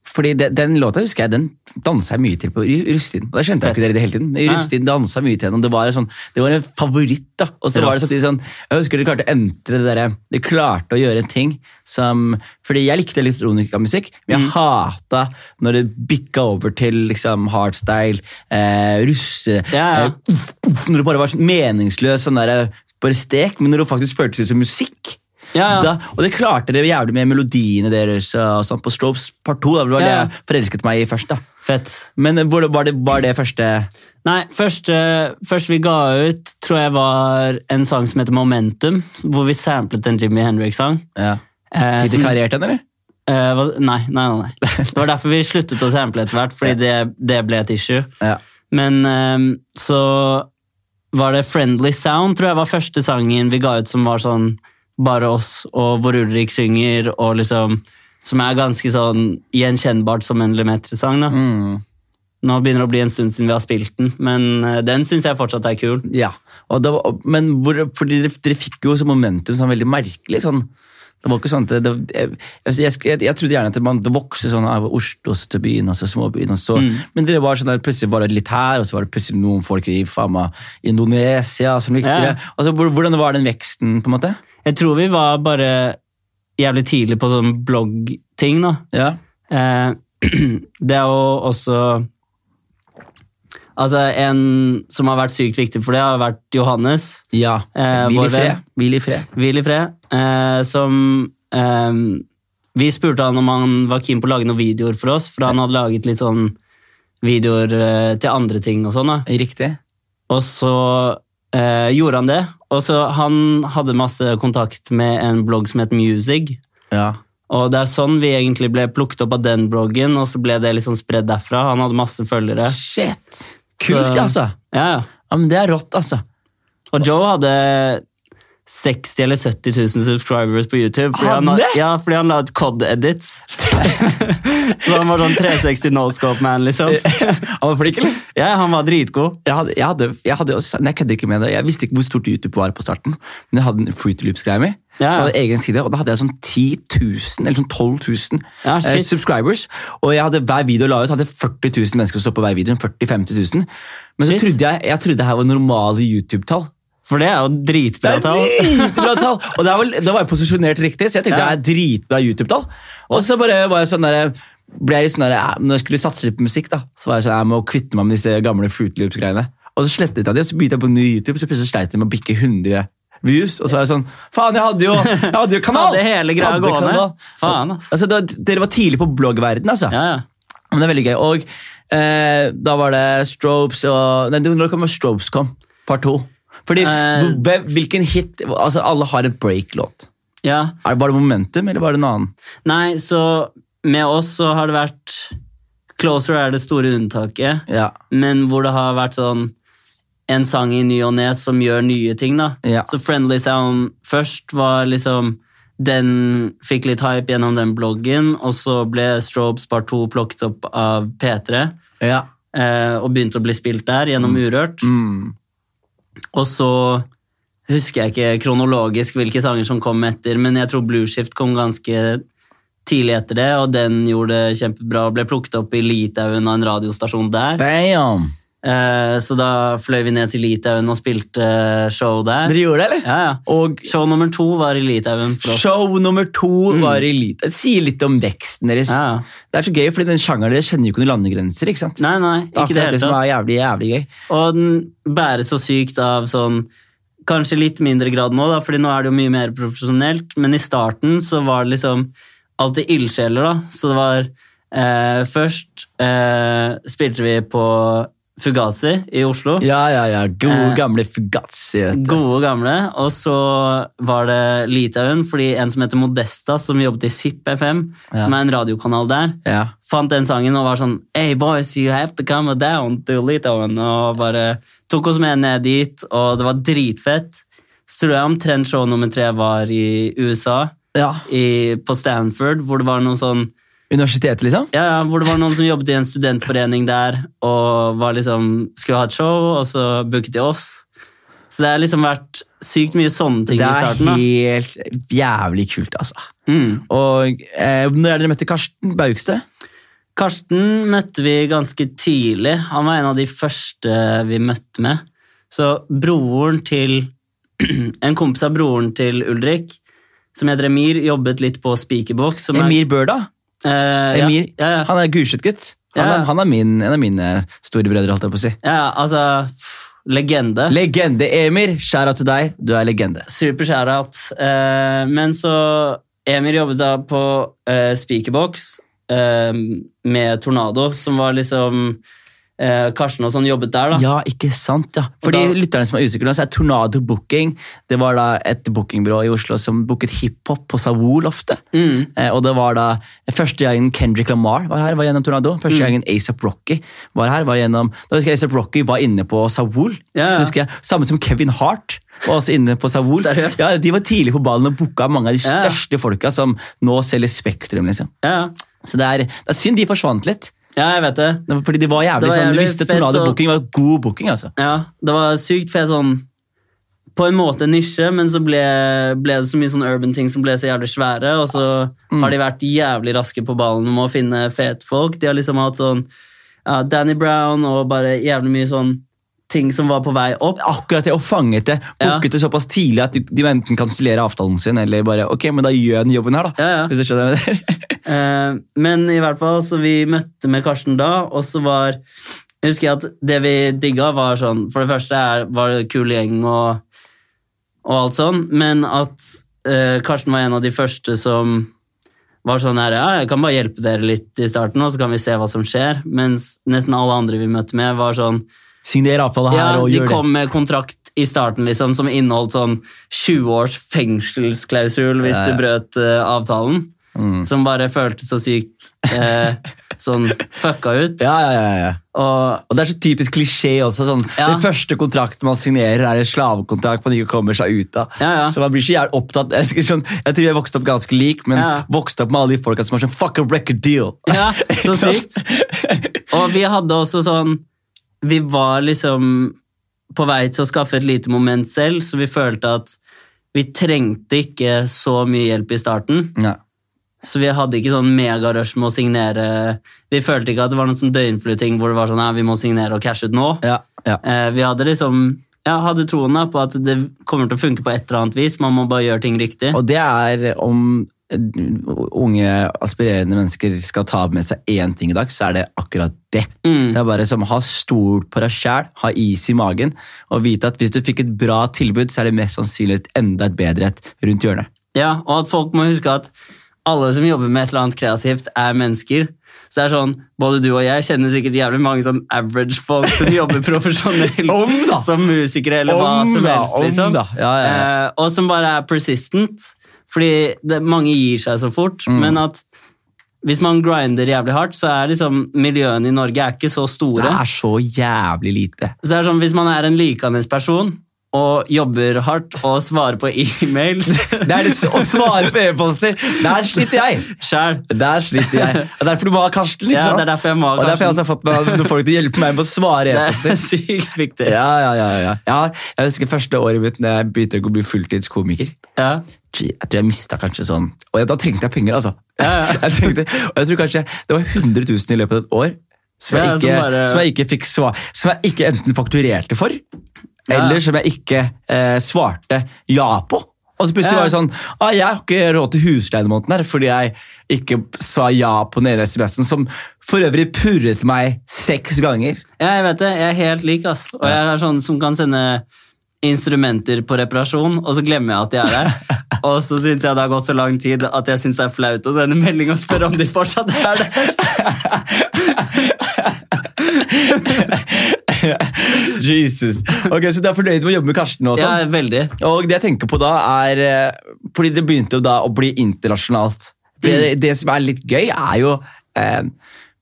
Fordi de, Den låta husker jeg, den dansa jeg mye til på i russetiden. Og Det skjønte jeg ikke dere i det hele tiden. Men I
Nei.
russetiden dansa jeg mye til den, og det var, en sånn, det var en favoritt. da. Og så var det samtidig sånn, Jeg husker dere klarte å entre det derre Dere klarte å gjøre en ting som Fordi jeg likte elektronikamusikk, men jeg hata når det bikka over til liksom hardstyle, eh, russe
Ja, ja.
eh, uff, uff, Når det bare var sånn meningsløs sånn derre bare stek, men når det faktisk føltes ut som musikk.
Ja, ja.
Da, og det klarte dere jævlig med melodiene deres og sånn på Strobes part 2. Da, det var det
Ja, ja.
jeg forelsket meg i først. da.
Fett.
Men eh, hvor, var, det, var det første
Nei, første, første vi ga ut, tror jeg var en sang som heter Momentum, hvor vi samplet en Jimi Hendrix-sang.
ja.
Eh,
Fikk dere
som-
karriert den, eller?
eh, hva- nei, nei, nei, nei. Det var derfor vi sluttet å sample etter hvert, fordi det, det ble et issue.
Ja.
Men ehm, så var det Friendly Sound, tror jeg var første sangen vi ga ut som var sånn bare oss, og hvor Ulrik synger, og liksom Som er ganske sånn gjenkjennbart som en Lemetre-sang, da.
Mm.
Nå begynner det å bli en stund siden vi har spilt den, men eh, den syns jeg fortsatt er kul.
ja. Og det var, men hvor, fordi dere, dere fikk jo sånn momentum sånn veldig merkelig. sånn. Det var ikke sånn at det, det, jeg, jeg, jeg, jeg trodde gjerne at man det vokste sånn av Oslo så til byen og så småbyen. og så,
Mm.
Men dere var sånn der, plutselig var det litt her, og så var det plutselig noen folk i faen meg Indonesia som likte
Ja.
dere. Altså, hvor- Hvordan var den veksten? på en måte?
Jeg tror vi var bare jævlig tidlig på sånn bloggting, da.
Ja.
Eh, det er jo også Altså, en som har vært sykt viktig for det, har vært Johannes.
Ja.
Eh,
Hvil
vår
i fred.
venn.
Hvil i fred.
Hvil i fred. Eh, som eh, Vi spurte han om han var keen på å lage noen videoer for oss, for han hadde laget litt sånn videoer eh, til andre ting og sånn. da.
Riktig.
Og så eh, gjorde han det. Og så Han hadde masse kontakt med en blogg som het Musig.
Ja.
Og det er sånn vi egentlig ble plukket opp av den bloggen, og så ble det liksom spredd derfra. Han hadde masse følgere.
Shit! Kult,
Så-
altså!
Ja, ja.
Ja, men Det er rått, altså.
Og Joe hadde 60 eller 70 000 subscribers på YouTube. Fordi
Hadde?
han, la- ja, fordi han la ut COD-edits. så han var sånn 360 no-scope-man, liksom.
Han var flink, eller?
Ja, han var dritgod.
Jeg hadde, jeg hadde, jeg hadde også, nei, jeg kødder ikke med det. Jeg visste ikke hvor stort YouTube var på starten, men jeg hadde en Fruity Loops-greie mi. Så
Ja, ja.
jeg hadde egen side, og Da hadde jeg sånn 10 000, eller sånn 12 000
Ja,
eh,
shit.
subscribers. Og jeg hadde hver video jeg la ut, hadde 40 000 mennesker som så på hver video. 40 000-50 000. Men
Shit.
så trodde jeg, jeg trodde det her var normale YouTube-tall.
For det er jo
Det
dritbra
er
tall.
dritbra tall! Og det er vel- da var jeg posisjonert riktig, så jeg tenkte
Ja.
det er dritbra YouTube-tall. Og så bare var jeg sånn der, ble jeg litt sånn der, eh, Når jeg skulle satse litt på musikk, da, så var jeg sånn, jeg må kvitte meg med disse gamle Fruit Loops-greiene. Og så slettet jeg det, og så begynte jeg på ny YouTube, så plutselig sleit jeg med å bikke 100 views. Og så er jeg sånn Faen, jeg hadde jo, jeg hadde jo kanal!
Hadde hele greia
Hadde
gående.
kanal.
Faen, ass.
Altså, det var, dere var tidlig på bloggverden, altså.
Ja, ja.
Men det er veldig gøy. Og eh, da var det Strobes og Nei, når kommer Strobes kom? Part to. Fordi
Eh.
hvem- hvilken hit Altså, alle har en break-låt.
ja.
Er- Var det Momentum, eller var det en annen?
Nei, så med oss så har det vært Closer er det store unntaket,
Ja.
men hvor det har vært sånn en sang i ny og ne som gjør nye ting, da.
Ja.
Så Friendly Sound først var liksom Den fikk litt hype gjennom den bloggen, og så ble Strobes part 2 plukket opp av P3
ja.
eh, og begynte å bli spilt der gjennom Urørt.
Mm.
Og så husker jeg ikke kronologisk hvilke sanger som kom etter, men jeg tror Blueshift kom ganske tidlig etter det, og den gjorde det kjempebra og ble plukket opp i Litauen av en radiostasjon der.
Damn!
Eh, så da fløy vi ned til Litauen og spilte eh, show der.
Dere gjorde det, eller?
Ja, ja.
Og
Show nummer to var i Litauen for oss.
show nummer to var elite. Det sier litt om veksten deres.
Mm. Ja, ja.
Det er så gøy, fordi den sjangeren deres kjenner jo ikke noen landegrenser. ikke sant?
Nei, nei,
det er
ikke det
akkurat
hele
det som
tatt.
er jævlig, jævlig gøy.
Og den bæres så sykt av sånn Kanskje litt mindre grad nå, da, fordi nå er det jo mye mer profesjonelt, men i starten så var det liksom alltid ildsjeler, da. Så det var eh, Først eh, spilte vi på Fugazi i Oslo.
Ja, ja, ja. Gode,
Eh.
gamle Fugazi. vet du.
Gode og gamle. Og så var det Litauen, fordi en som heter Modesta, som jobbet i ZIP FM,
Ja.
som er en radiokanal der,
Ja.
fant den sangen og var sånn Hey boys, you have to come down to Litauen. Og bare tok oss med ned dit, og det var dritfett. Så tror jeg omtrent show nummer tre var i USA,
ja.
i, på Stanford, hvor det var noen sånn
Universitetet, liksom?
ja, ja, hvor det var noen som jobbet i en studentforening der, og var liksom, skulle ha et show, og så booket de oss. Så det har liksom vært sykt mye sånne ting
Det
i
er
starten. da.
helt jævlig kult, altså.
Mm.
Og eh, når er dere møtte Karsten Baugstø?
Karsten møtte vi ganske tidlig. Han var en av de første vi møtte med. Så broren til En kompis av broren til Ulrik, som heter Emir, jobbet litt på Spikerbox. som er-
Emir Børda?
Eh,
Emir,
Ja, ja, ja.
Han er Gulset-gutt. Han,
Ja.
er- han er min, en av mine storebrødre, holdt jeg på å si.
ja, altså pff, Legende.
Legende Emir, skjær av til deg, du er legende.
Super shout-out. Eh, men så Emir jobbet da på eh, Speakerbox eh, med Tornado, som var liksom eh, Karsten og sånn jobbet der, da.
Ja, ikke sant, ja. For de
Og da-
lytterne som er usikre nå, så er Tornado Booking Det var da et bookingbyrå i Oslo som booket hiphop på Sawool ofte.
Mm.
Eh, og det var da første gangen Kendrick Lamar var her, var gjennom Tornado.
Mm.
Første gangen A$AP Rocky var her, var gjennom Da husker jeg A$AP Rocky var inne på Sawool.
Ja, ja.
Husker jeg. Samme som Kevin Hart var også inne på Sawool.
Seriøst?
Ja, de var tidlig på ballen og booka mange av de
Ja.
største folka som nå selger Spektrum, liksom.
Ja,
Så det er, det er synd de forsvant litt.
ja jeg vet det.
Det var Fordi de var jævlig,
Det var
sånn, Du
jævlig
visste
fett,
Tornado
så-
Booking var god booking, altså.
Ja, det var sykt fet sånn På en måte nisje, men så ble, ble det så mye sånn urban ting som ble så jævlig svære, og så har de vært jævlig raske på ballen med å finne fete folk. De har liksom hatt sånn ja, Danny Brown og bare jævlig mye sånn ting som var på vei opp.
akkurat det, og fanget det. Booket det såpass tidlig at de- de enten kansellere avtalen sin, eller bare ok, men da gjør jeg den jobben her, da.
Ja, ja.
Hvis du skjønner hva jeg mener.
Eh, men i hvert fall, så vi møtte med Karsten da, og så var jeg husker at det vi digga, var sånn For det første er, var det kul gjeng og, og alt sånn, men at eh, Karsten var en av de første som var sånn her Ja, jeg kan bare hjelpe dere litt i starten, og så kan vi se hva som skjer. Mens nesten alle andre vi møtte med, var sånn
Signer avtale her
ja,
og
de
gjør
kom med kontrakt i starten liksom, som inneholdt sånn 20 års fengselsklausul hvis
Ja, ja. Mm.
du brøt eh, avtalen. Som bare føltes så sykt eh, sånn fucka ut.
det. Ja, ja, ja, ja.
Og
Og det er så typisk klisjé også. sånn,
Ja.
Den første kontrakten man signerer, er en slavekontrakt man ikke kommer seg ut av.
Ja, ja.
Så man blir så jævlig opptatt. Jeg, husker sånn, jeg tror jeg vokste opp ganske lik, men
Ja.
vokste opp med alle de folka som var sånn fuck a record deal.
Ja, så
Ikke sant?
Og vi hadde også sånn Vi var liksom på vei til å skaffe et lite moment selv, så vi følte at vi trengte ikke så mye hjelp i starten.
ja.
Så vi hadde ikke sånn megarush med å signere. Vi følte ikke at det var noen sånn døgnfluting hvor det var sånn «Nei, vi må signere og cashe ut nå.
Ja, ja.
Eh, vi hadde liksom ja, hadde troen da på at det kommer til å funke på et eller annet vis. Man må bare gjøre ting riktig.
Og det er om eh, unge aspirerende mennesker skal ta med seg én ting i dag, så er det akkurat det.
Mm.
Det er bare som å ha stol på deg sjæl, ha is i magen, og vite at hvis du fikk et bra tilbud, så er det mest sannsynlig et enda et bedre et rundt hjørnet.
Ja, og at folk må huske at alle som jobber med et eller annet kreativt, er mennesker. Så det er sånn, Både du og jeg kjenner sikkert jævlig mange sånn average folk som jobber profesjonelt
Om da!
som musikere eller hva
Om
som
da,
helst.
om
liksom.
da. Ja, Ah, ja, ja.
Eh, og som bare er persistent. Fordi det, mange gir seg så fort,
Mm.
men at hvis man grinder jævlig hardt, så er liksom miljøene i Norge er ikke så store.
Det er så jævlig lite.
Så det er sånn, Hvis man er en likandes person og jobber hardt og svarer på e-mails
Det er det s- å svare på e-poster! Der sliter jeg!
sjæl
Der sliter jeg. Det er derfor du må ha Karsten. ikke
Ja,
sant?
det er derfor jeg må ha
Og derfor jeg
Karsten.
også har fått med noen folk til å hjelpe meg med å svare
Det
e-poster.
er sykt viktig.
Ja, ja, ja, ja. Jeg, har, jeg husker første året mitt når jeg begynte å bli fulltidskomiker.
Ja.
Jeg tror jeg mista kanskje sånn Og da trengte jeg penger, altså.
Ja, ja.
Jeg trengte, og jeg tror kanskje det var 100 000 i løpet av et år som jeg
Ja, som
ikke,
bare-
som jeg ikke fikk svar Som jeg ikke enten fakturerte for,
Ja.
eller som jeg ikke eh, svarte ja på. Og så plutselig
Ja.
var det sånn ah, Jeg har ikke råd til husleie denne måneden her, fordi jeg ikke sa ja på den ene SMS-en, som for øvrig purret meg seks ganger.
ja, jeg vet det. Jeg er helt lik, ass. Og jeg er sånn som kan sende instrumenter på reparasjon, og så glemmer jeg at de er der. Og så syns jeg det har gått så lang tid at jeg syns det er flaut å sende melding og spørre om de fortsatt er der.
Jesus. Ok, Så du er fornøyd med å jobbe med Karsten? nå og
Ja,
sånn?
veldig.
Og det jeg tenker på da er eh, Fordi det begynte jo da å bli internasjonalt. Fordi det, det som er litt gøy, er jo eh,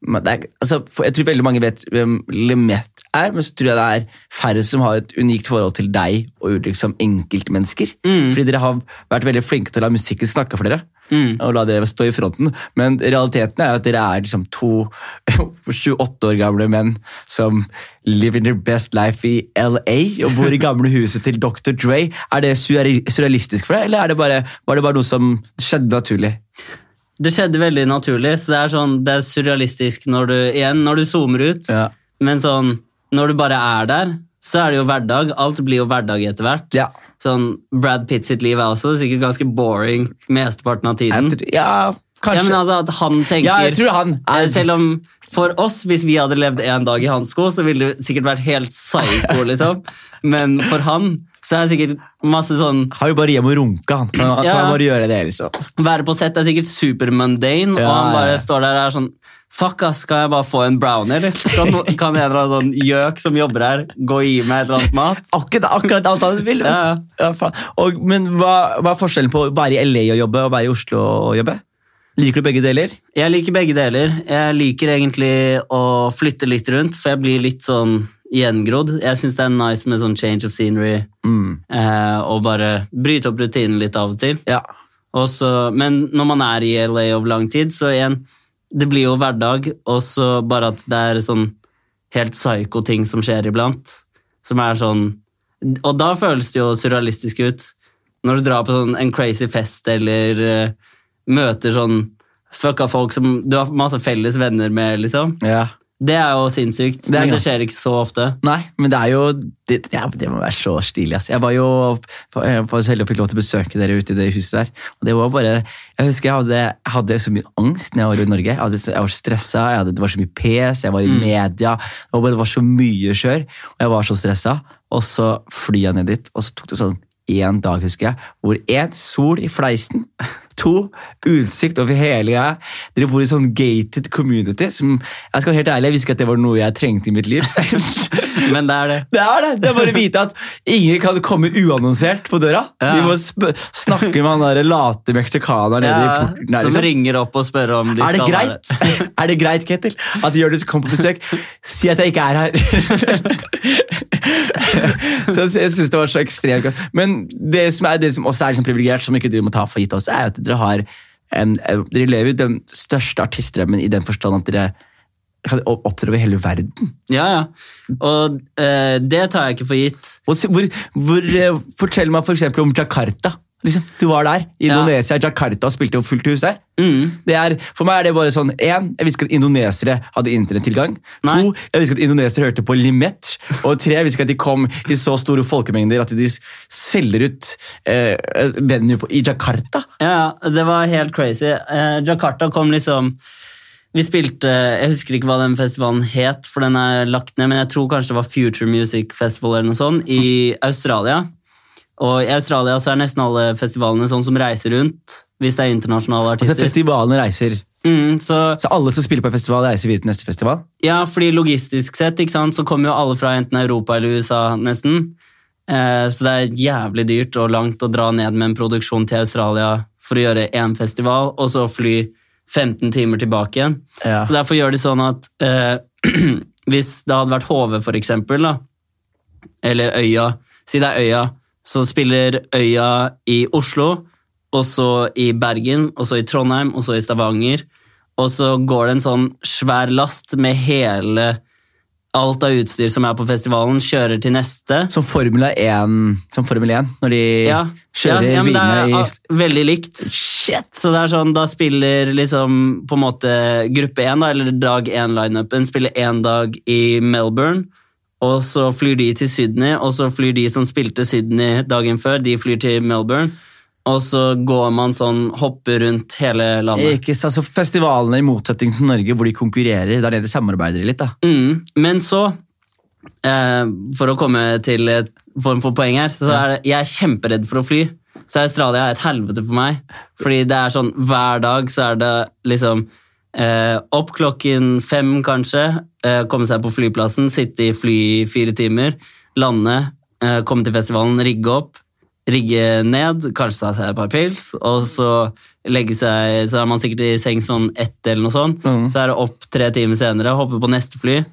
men det er, altså, for Jeg tror veldig mange vet hvem Lemet er, men så tror jeg det er færre som har et unikt forhold til deg og liksom enkeltmennesker. Fordi dere har vært veldig flinke til å la musikken snakke for dere.
Mm.
Og la det stå i fronten. Men realiteten er at dere er liksom to 28 år gamle menn som living their best life i LA og bor i gamle huset til Dr. Dre. Er det surreal- surrealistisk for deg, eller er det bare, var det bare noe som skjedde naturlig?
Det skjedde veldig naturlig, så det er, sånn, det er surrealistisk når du, igjen, når du zoomer ut.
Ja.
Men sånn, når du bare er der, så er det jo hverdag. Alt blir jo hverdag etter hvert.
Ja.
Sånn, Brad Pitt sitt liv er også sikkert ganske boring mesteparten av
Jeg
tiden.
tror- Ja,
Mm. Ja,
kanskje.
men altså at han tenker...
Ja, jeg tror han er-
Eh, Selv om for oss, hvis vi hadde levd en dag i hans sko, så ville det sikkert vært helt psycho, liksom. Men for han, så er det sikkert masse sånn...
har jo bare hjem og runke, han. Kan, kan
Ja.
han bare gjøre det, liksom.
Være på sett er sikkert supermundane,
Ja,
og han bare
ja, ja.
står der og er sånn Fuck, ass, skal jeg bare få en brownie, eller? Kan, kan en eller annen sånn gjøk som jobber her, gå og gi meg et eller annet mat?
Akkurat, akkurat alt han vil. vet du.
Ja,
Ja, faen. og, men hva, hva er forskjellen på å være i LA og jobbe og være i Oslo og jobbe? Liker du begge deler?
Jeg liker begge deler. Jeg liker egentlig å flytte litt rundt, for jeg blir litt sånn gjengrodd. Jeg syns det er nice med sånn change of scenery, eh, og bare bryte opp rutinen litt av og til.
Mm. Ja.
Og så- men når man er i LA over lang tid, så igjen, det blir jo hverdag, og så bare at det er sånn helt psyko ting som skjer iblant, som er sånn, og da føles det jo surrealistisk ut, når du drar på sånn en crazy fest, eller eh, møter sånn fucka folk som du har masse felles venner med, liksom.
ja.
Det er jo sinnssykt,
er
men det
ganske-
skjer ikke så ofte.
Nei, men det er jo Det, det, er- det må være så stilig. ass. Jeg var jo jeg var så heldig og fikk lov til å besøke dere ute i det huset der. Og det var bare, Jeg husker jeg hadde, jeg hadde så mye angst når jeg var i Norge. Jeg, hadde, så- jeg var stressa, jeg hadde, det var så mye pes, jeg var i media. Det var, bare, det var så mye kjør, og jeg var så stressa. Og så flyr jeg ned dit, og så tok det sånn én dag, husker jeg, hvor én sol i fleisen To, utsikt over hele greia. Dere bor i sånn gated community. som, jeg skal være helt ærlig, jeg visste ikke at det var noe jeg trengte i mitt liv.
Men det er det.
Det er det! Det er bare å vite at ingen kan komme uannonsert på døra.
Ja.
De må sp snakke med han der late meksikaneren nede i
Ja,
porten. Der,
som
liksom.
ringer opp og spør om de
Er det
skal være-
greit? Er det greit, Ketil? At Jonis kommer på besøk? Si at jeg ikke er her! så jeg- jeg synes det var så ekstremt godt. Men det som, er, det som også er liksom privilegert, som ikke du må ta for gitt også, er at dere har en, eh, dere lever jo den største artistdrømmen i den forstand at dere kan opptre over hele verden.
Ja, ja. Og eh, det tar jeg ikke for gitt.
Og se- Hvor, hvor, eh, fortell meg for eksempel om Jakarta. Liksom, du var der.
Ja.
Indonesia, Jakarta spilte jo fullt hus der.
Mm.
Det er, for meg er det bare sånn En, jeg visste ikke at indonesere hadde internettilgang.
Nei.
To, jeg visste ikke at indonesere hørte på Limet. Og tre, jeg visste ikke at de kom i så store folkemengder at de s- selger ut eh, venue på, i Jakarta.
Ja, det var helt crazy. Eh, Jakarta kom liksom Vi spilte Jeg husker ikke hva den festivalen het, for den er lagt ned, men jeg tror kanskje det var Future Music Festival eller noe sånt i Australia. Og i Australia så er nesten alle festivalene sånn som reiser rundt, hvis det er internasjonale
Altså
artister.
Festivalen reiser.
mm, så,
Så alle som spiller på en festival, reiser videre til neste festival?
ja, fordi logistisk sett ikke sant, så kommer jo alle fra enten Europa eller USA, nesten. Eh, så det er jævlig dyrt og langt å dra ned med en produksjon til Australia for å gjøre én festival, og så fly 15 timer tilbake igjen.
Ja.
Så derfor gjør de sånn at eh, hvis det hadde vært HV, for eksempel, da, eller Øya Si det er Øya, så spiller Øya i Oslo, og så i Bergen, og så i Trondheim, og så i Stavanger. Og så går det en sånn svær last med hele Alt av utstyr som er på festivalen, kjører til neste.
Som Formel 1, som Formel 1 når de
Ja, ja,
kjører
ja men det er
bilene i
ah, veldig likt.
Shit!
Så det er sånn, da spiller liksom på en måte gruppe 1, da, eller dag 1-lineupen, spiller én dag i Melbourne, og så flyr de til Sydney, og så flyr de som spilte Sydney dagen før, de flyr til Melbourne, og så går man sånn, hopper rundt hele landet.
Ikke, sant, så festivalene i motsetning til Norge, hvor de konkurrerer. Det er det de samarbeider litt. da.
Mm. Men så, eh, for å komme til et form for poeng her, så er det, jeg er kjemperedd for å fly. Så Australia er et helvete for meg. Fordi det er sånn, hver dag så er det liksom eh, opp klokken fem kanskje, eh, komme seg på flyplassen, sitte i fly i fire timer, lande, eh, komme til festivalen, rigge opp, rigge ned, kanskje ta seg et par pils, og så legge seg, så er man sikkert i seng sånn ett eller noe sånt,
Mhm.
så er det opp tre timer senere, hoppe på neste fly,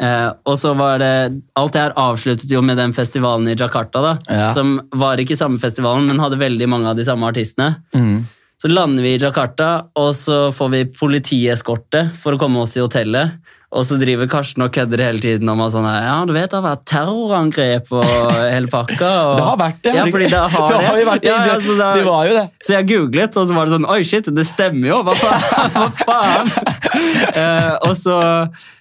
Eh, og så var det, Alt det her avsluttet jo med den festivalen i Jakarta, da,
Ja.
som var ikke samme festivalen, men hadde veldig mange av de samme artistene.
Mm.
Så lander vi i Jakarta, og så får vi politieskorte for å komme oss til hotellet. Og så driver Karsten og kødder hele tiden om at sånn her, ja, du vet det har vært terrorangrep og hele pakka. Og...
Det har vært det!
Ja,
herregud.
fordi det har det.
jo vært det. altså,
Ja, ja, så da-
det var jo det.
så jeg googlet, og så var det sånn Oi, shit, det stemmer jo! Hva faen? Hva faen? Eh, og så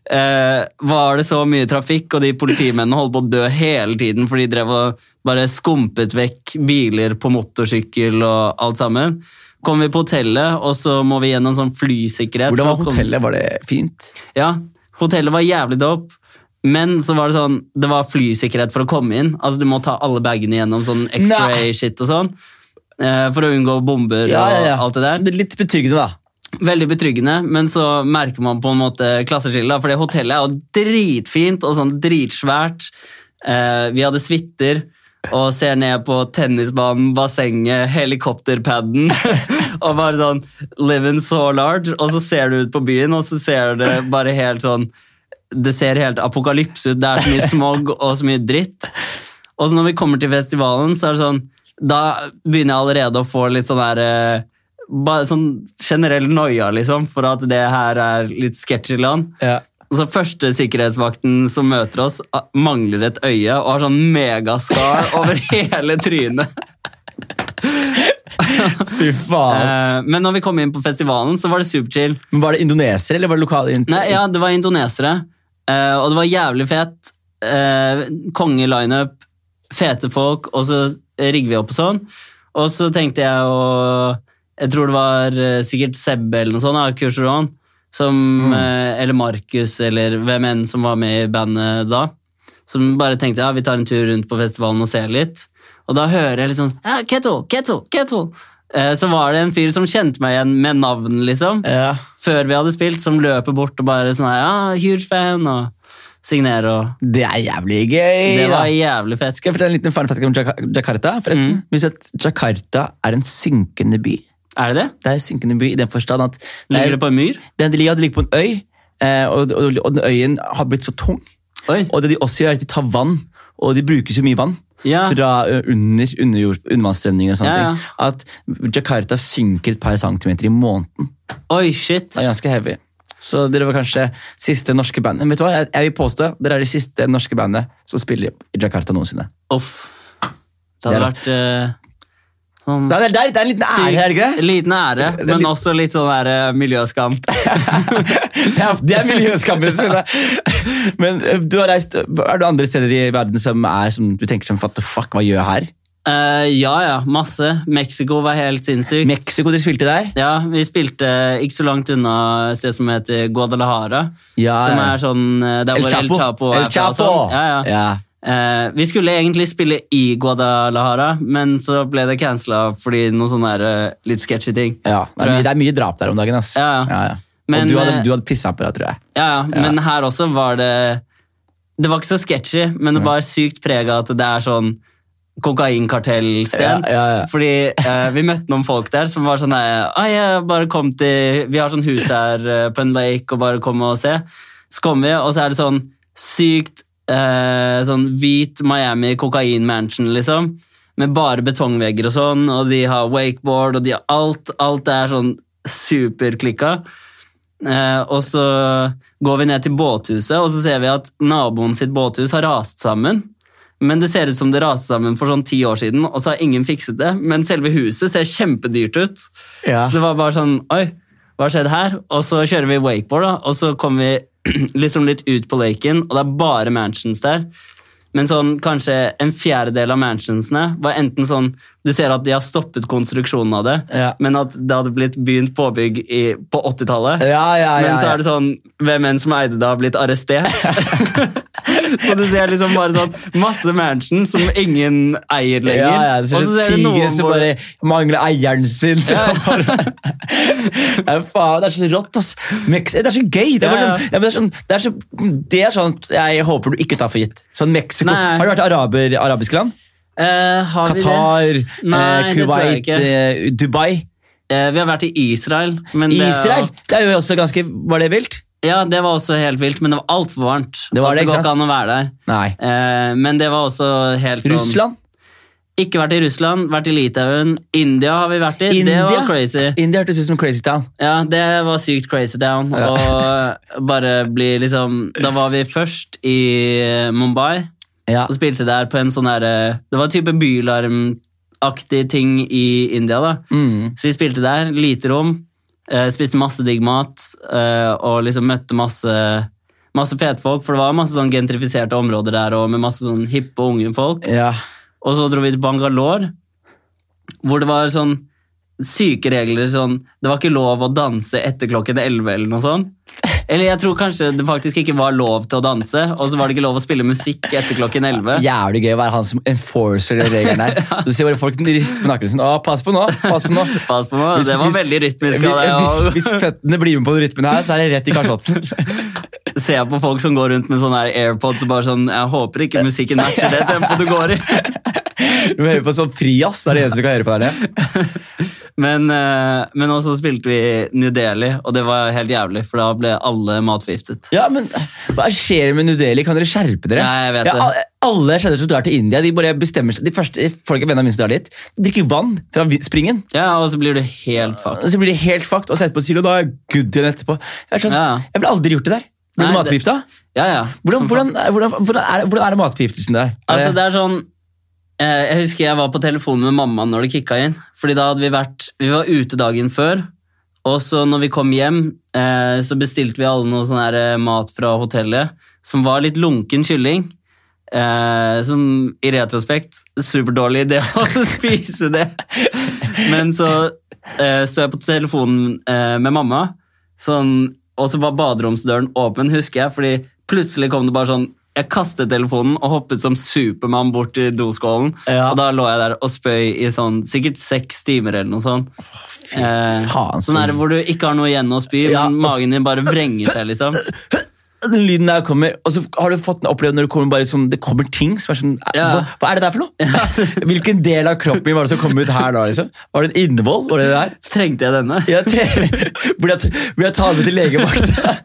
eh, var det så mye trafikk, og de politimennene holdt på å dø hele tiden, for de drev og bare skumpet vekk biler på motorsykkel og alt sammen. Kom vi på hotellet, og så må vi gjennom sånn flysikkerhet.
Hvordan var
for å komme-
hotellet? Var det fint?
ja, hotellet var jævlig dope. Men så var det sånn, det var flysikkerhet for å komme inn. Altså Du må ta alle bagene gjennom sånn X-ray-shit og sånn. eh, For å unngå bomber og alt det der.
er litt betryggende, da.
Veldig betryggende, men så merker man på en måte klasseskillet. da, For det hotellet er jo dritfint og sånn dritsvært. Eh, vi hadde suiter og ser ned på tennisbanen, bassenget, helikopterpadden. og bare sånn Living so large. Og så ser du ut på byen, og så ser det bare helt sånn Det ser helt apokalypse ut. Det er så mye smog og så mye dritt. Og så når vi kommer til festivalen, så er det sånn Da begynner jeg allerede å få litt sånn der eh, Bare sånn generell noia, liksom, for at det her er litt sketchy land. Og så første sikkerhetsvakten som møter oss, ah, mangler et øye og har sånn megaskar over hele trynet.
Fy faen.
Eh, Men når vi kom inn på festivalen, så var det superchill.
Men Var det indonesere, eller var det lokale int-
Nei, ja, det var indonesere, eh, og det var jævlig fett. Eh, Kongelineup, fete folk, og så rigger vi opp og sånn. Og så tenkte jeg å Jeg tror det var eh, sikkert Sebbe eller noe sånt, da, Kursuran, som, eh, eller Markus, eller hvem enn som var med i bandet da, som bare tenkte ja, vi tar en tur rundt på festivalen og ser litt. Og da hører jeg litt sånn ja, Kettle, Kettle, Kettle. Eh, så var det en fyr som kjente meg igjen med navn, liksom
Ja.
før vi hadde spilt, som løper bort og bare sånn her, ja, huge fan, og signerer, og
Det er jævlig gøy!
det
da.
var Mm. jævlig fett.
Skal jeg fortelle en liten fun fact om Jaka- Jakarta? forresten? Visste du at Jakarta er en synkende by.
Er det det?
Det er en synkende by i den forstand at
Ligger det på en myr?
Den ligger, den ligger på en øy, eh, og, og, og den øyen har blitt så tung.
Oi,
Og det de også gjør, er at de tar vann, og de bruker så mye vann.
Ja.
Fra eh, under, underjord, undervannsstrømninger og sånne
Ja, ja.
ting. At Jakarta synker et par centimeter i måneden.
oi, shit.
Det er ganske heavy. Så dere var kanskje siste norske bandet. Men vet du hva, jeg, jeg vil påstå dere er det siste norske bandet som spiller i Jakarta noensinne.
Off. Det hadde
Det er
vært eh, Sånn,
Nei, det, er, det, er, det er en liten ære, er det ikke det?
Liten ære,
er
men
litt-
også litt sånn der, eh, miljøskam.
Det er, det er miljøskammer. som det- Men eh, du har reist, er det andre steder i verden som, er, som du tenker sånn, what the fuck, hva gjør jeg her?
Eh, ja, ja, masse. Mexico var helt sinnssykt.
Mexico, dere spilte der?
Ja, vi spilte eh, ikke så langt unna et sted som heter Guadalajara.
Ja,
som
ja.
er sånn eh, Der hvor El Chapo er
El
fra og
Chapo.
sånn. Ja, ja. Eh, vi skulle egentlig spille i Guadalajara, men så ble det cancela fordi noen sånne der, eh, litt sketchy ting.
Ja, Det, er
Tror
mye,
jeg.
det er mye drap der om dagen. ass.
Ja, ja. Men,
og du hadde,
eh,
du hadde pissa på deg, tror jeg.
Ja, ja, Men her også var det Det var ikke så sketchy, men det var sykt preg av at det er sånn
Ja,
kokainkartellsted.
ja, ja.
Fordi eh, vi møtte noen folk der som var sånn eh, «Ai, jeg bare kom til, Vi har sånn hus her eh, på en lake, og bare kom og se. Så kom vi, og så er det sånn sykt eh, sånn hvit Miami kokain mansion, liksom. Med bare betongvegger og sånn, og de har wakeboard, og de har alt. Alt er sånn superklikka. Eh, og så går vi ned til båthuset, og så ser vi at naboen sitt båthus har rast sammen. Men det ser ut som det raste sammen for sånn ti år siden, og så har ingen fikset det. Men selve huset ser kjempedyrt ut.
Ja.
Så det var bare sånn Oi, hva har skjedd her? Og så kjører vi wakeboard, da, og så kommer vi liksom litt ut på laken, og det er bare mansions der. Men sånn, kanskje en fjerdedel av mansionsene var enten sånn Du ser at de har stoppet konstruksjonen av det,
Ja.
men at det hadde blitt begynt påbygg i, på 80-tallet.
Ja, ja, ja,
Men så
ja.
er det sånn Hvem enn som eide det, har blitt arrestert. så du ser liksom bare sånn masse mansion som ingen eier lenger.
Ja, ja, det
Og så
ser
ser
ut
du
som
noen
tigre som
hvor-
bare mangler eieren sin. Nei, faen, det er så rått, ass. Mex det er så gøy. Det er, bare
Ja, ja.
sånn, ja, men det, er sånn, det, er så, det er sånt jeg håper du ikke tar for gitt. Sånn Mexico.
Nei.
Har du vært i araber, arabiske land?
Eh, har vi det?
Qatar,
Nei,
eh,
det tror jeg
Kuwait, eh, Dubai.
Eh, vi har vært i Israel. Men det,
Israel! Det er jo også ganske Var det vilt?
Ja, det var også helt vilt, men det var altfor varmt.
Det var det, ikke
altså, det går ikke
sant?
an å være der.
Nei.
Eh, men det var også helt sånn
Russland?
Ikke vært i Russland, vært i Litauen. India har vi vært i.
India?
Det var crazy.
India hørtes ut som Crazy Town.
Ja, det var sykt crazy down. Og bare bli liksom Da var vi først i Mumbai
Ja.
og spilte der på en sånn derre Det var type bylarmaktig ting i India, da.
Mm.
Så vi spilte der. Lite rom. eh, Spiste masse digg mat eh, og liksom møtte masse Masse fete folk, for det var masse sånn gentrifiserte områder der og med masse sånn hippe og unge folk.
Ja.
Og så dro vi til Bangalore, hvor det var sånn syke regler. Sånn, det var ikke lov å danse etter klokken 11 eller noe sånt. Eller jeg tror kanskje det faktisk ikke var lov til å danse, og så var det ikke lov å spille musikk etter klokken 11.
Jævlig gøy å være han som enforcer de reglene der. Du ser bare folk rister på nakken sin. Å, pass på nå! Pass på nå!
Pass på meg, det var veldig rytmisk av deg
Hvis,
å
hvis føttene blir med på den rytmen her, så er det rett i kasjotten.
se på folk som går rundt med sånne her airpods og bare sånn Jeg håper ikke musikken matcher det tempoet du går i.
Du hører på sånn frias, det er det eneste du kan høre på der nede.
Men, eh, men også spilte vi New Delhi, og det var helt jævlig, for da ble alle matforgiftet.
Ja, men hva skjer med New Delhi? Kan dere skjerpe dere?
Nei, jeg vet
Ja, al- alle jeg kjenner som drar til India, de bare bestemmer seg. De første folk er venner av mine som drar dit, de drikker vann fra vi- springen.
Ja, og så blir du helt fucked.
Og så blir de helt fucked, og så etterpå sier de, da er jeg good igjen etterpå. Jeg, er sånn,
Ja.
jeg ville aldri gjort det der. Ble du
Nei, det-
matforgifta?
Ja, ja.
Hvordan,
Som
hvordan, hvordan, hvordan, er, hvordan er det matforgiftelsen der?
faen. Altså, det er sånn eh, Jeg husker jeg var på telefonen med mamma når det kicka inn. Fordi da hadde vi vært Vi var ute dagen før, og så når vi kom hjem, eh, så bestilte vi alle noe sånn her eh, mat fra hotellet som var litt lunken kylling. Eh, som i retrospekt superdårlig idé å spise det. Men så eh, står jeg på telefonen eh, med mamma, sånn, og så var baderomsdøren åpen, husker jeg, fordi plutselig kom det bare sånn jeg kastet telefonen og hoppet som Supermann bort til doskålen.
Ja.
Og da lå jeg der og spøy i sånn, sikkert seks timer eller noe sånt. Eh,
faen, så-
sånn er det hvor du ikke har noe igjen å spy,
Ja,
men
og s-
magen din bare vrenger seg, liksom.
den lyden der kommer, og så har du fått opplevd når det kommer bare sånn, det kommer ting som er sånn
Ja.
hva, hva er det der for noe? Hvilken del av kroppen min var det som kom ut her da? liksom? Var det en innvoll? Var det det der?
Trengte jeg denne?
Jeg tre- Burde jeg, t- burde jeg ta det med til legemakta?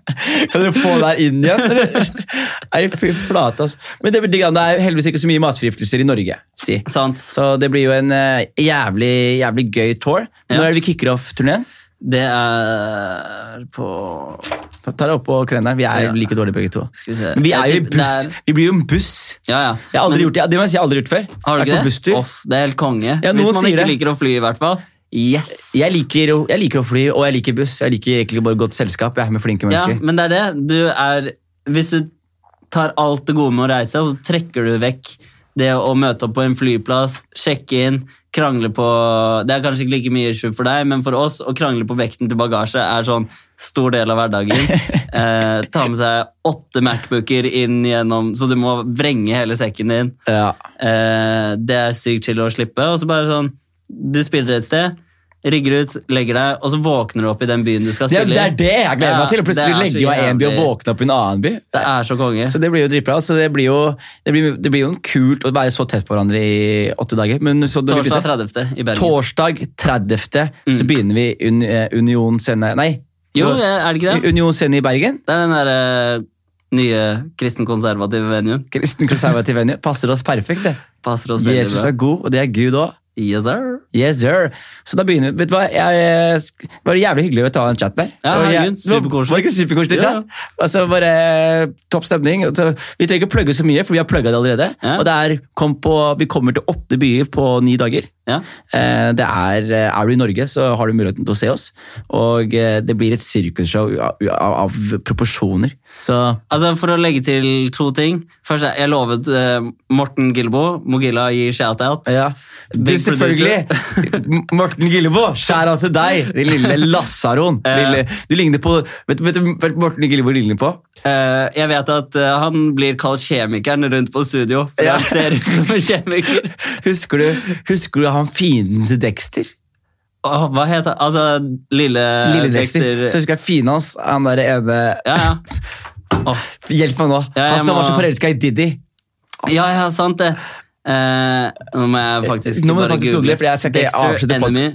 Kan dere få det her inn igjen? eller? Nei, fy flate, ass. Men det blir digg, da. det er jo heldigvis ikke så mye matforgiftelser i Norge. si.
Sant.
Så det blir jo en eh, jævlig, jævlig gøy tour. Når
Ja.
er det vi kicker off turneen?
Det er på
Da tar jeg opp på kalenderen. Vi er
Ja.
like dårlige begge to.
Skal vi se.
Men vi er jo i
Jeg tipper det er-
buss. Vi blir jo en buss.
Ja, ja.
Jeg har aldri
Men-
gjort det. Det må jeg si, jeg har aldri gjort før.
Har du
Vært
ikke
på
det?
busstur.
Off, det er helt konge.
Ja, noen
Hvis man
sier
ikke
det.
liker å fly, i hvert fall. Yes!
Jeg liker, å- jeg liker å fly, og jeg liker buss. Jeg liker egentlig bare godt selskap. Jeg er med flinke
ja,
mennesker.
men det er det. Du er Hvis du tar alt det gode med å reise, og så trekker du vekk det å møte opp på en flyplass, sjekke inn, krangle på Det er kanskje ikke like mye issue for deg, men for oss, å krangle på vekten til bagasje er sånn stor del av hverdagen. Eh, ta med seg åtte Macbooker inn gjennom, så du må vrenge hele sekken din.
Ja.
Eh, det er sykt chill å slippe. Og så bare sånn Du spiller et sted, rigger ut, legger deg, og så våkner du opp i den byen du skal
Det, er,
spille
det er
i.
det jeg gleder
Ja,
meg til. å
det
Plutselig
er så
legge meg i en by og
jævlig.
våkne opp i en annen by.
Det er så konge.
Så det blir jo dritbra. Så det blir jo, det blir, det blir jo kult å være så tett på hverandre i åtte dager. Men så når vi
Torsdag
begynte-
30. i Bergen.
Torsdag 30. så
Mm.
begynner vi un, eh, Union Scene Nei,
Jo, er det ikke det?
Union Scene i Bergen.
Det er den derre nye kristenkonservative venuen.
Kristen konservativ venue. Passer oss perfekt, det.
Passer oss veldig
Jesus
bra.
er god, og det er Gud òg.
Yes, sir.
Yes, sir. Så da begynner vi. Vet du hva, jeg, eh, sk- det var jævlig hyggelig å ta en chat der.
Ja,
Og jeg-
herregud,
det var-
superkoselig.
Var det ikke superkoselig
Ja.
chat? Altså bare eh, topp stemning. Og så- Vi trenger ikke plugge så mye, for vi har plugga det allerede.
Ja.
Og det er, kom på, vi kommer til åtte byer på ni dager.
Ja.
Eh, Det er, eh, er du i Norge, så har du muligheten til å se oss. Og eh, det blir et sirkusshow av, av, av proporsjoner. Så
Altså, For å legge til to ting. Først, Jeg lovet eh, Morten Gilbo. Mogilla gir shout-out.
Ja. Du,
Big
selvfølgelig! Morten Gillebo, skjæra til deg! Din lille lassaroen.
Eh.
Lille, du ligner på Vet du vet du hva Morten Gillebo ligner på?
Eh, jeg vet at eh, han blir kalt kjemikeren rundt på studio. For
Ja.
han ser ut som en kjemiker.
Husker du, husker du han fienden til Dexter?
Åh, hva heter han? Altså, lille, eh,
Lille Dexter. Så husker jeg fienden hans. Han der ene
Ja, ja. Åh,
Hjelp meg nå!
Ja, jeg
han som
må-
var så forelska i Diddy.
ja, ja, sant det. Eh, nå må jeg faktisk
Nå må du
bare
faktisk google, for jeg skal ikke avslutte
Dexter
pod-
Enemy.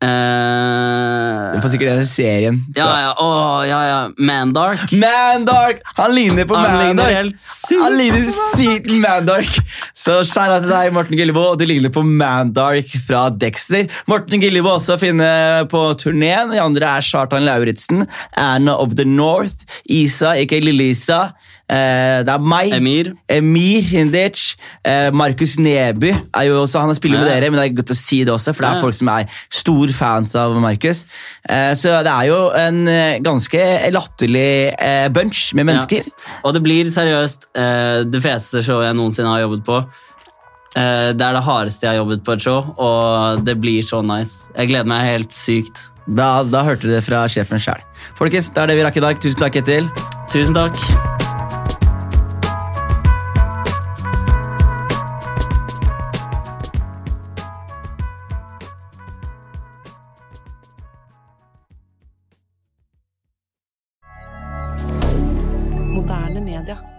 Det
Eh,
var sikkert den serien.
ja, ja, åh, ja, ja. Mandark.
Mandark! Han ligner på
Han ligner
Mandark!
helt sykt.
Han ligner sykt Mandark. Så skjæra til deg, Morten Gillebo, og du ligner på Mandark fra Dexter. Morten Gillebo også å finne på turneen. De andre er Chartan Lauritzen, Anna of the North, Isa, ikke Lille-Isa. Eh, det er meg.
Emir.
Emir Hindic. Eh, Markus Neby er jo også, han spiller jo med
Ja.
dere, men det er godt å si det også, for det
Ja.
er folk som er stor fans av Markus. Eh, så det er jo en eh, ganske latterlig eh, bunch med mennesker.
Ja. Og det blir seriøst eh, det feteste showet jeg noensinne har jobbet på. Eh, det er det hardeste jeg har jobbet på et show, og det blir så nice. Jeg gleder meg helt sykt.
Da, da hørte du det fra sjefen sjæl. Folkens, det er det vi rakk i dag. Tusen takk, Ketil.
Tusen takk.
Moderne media.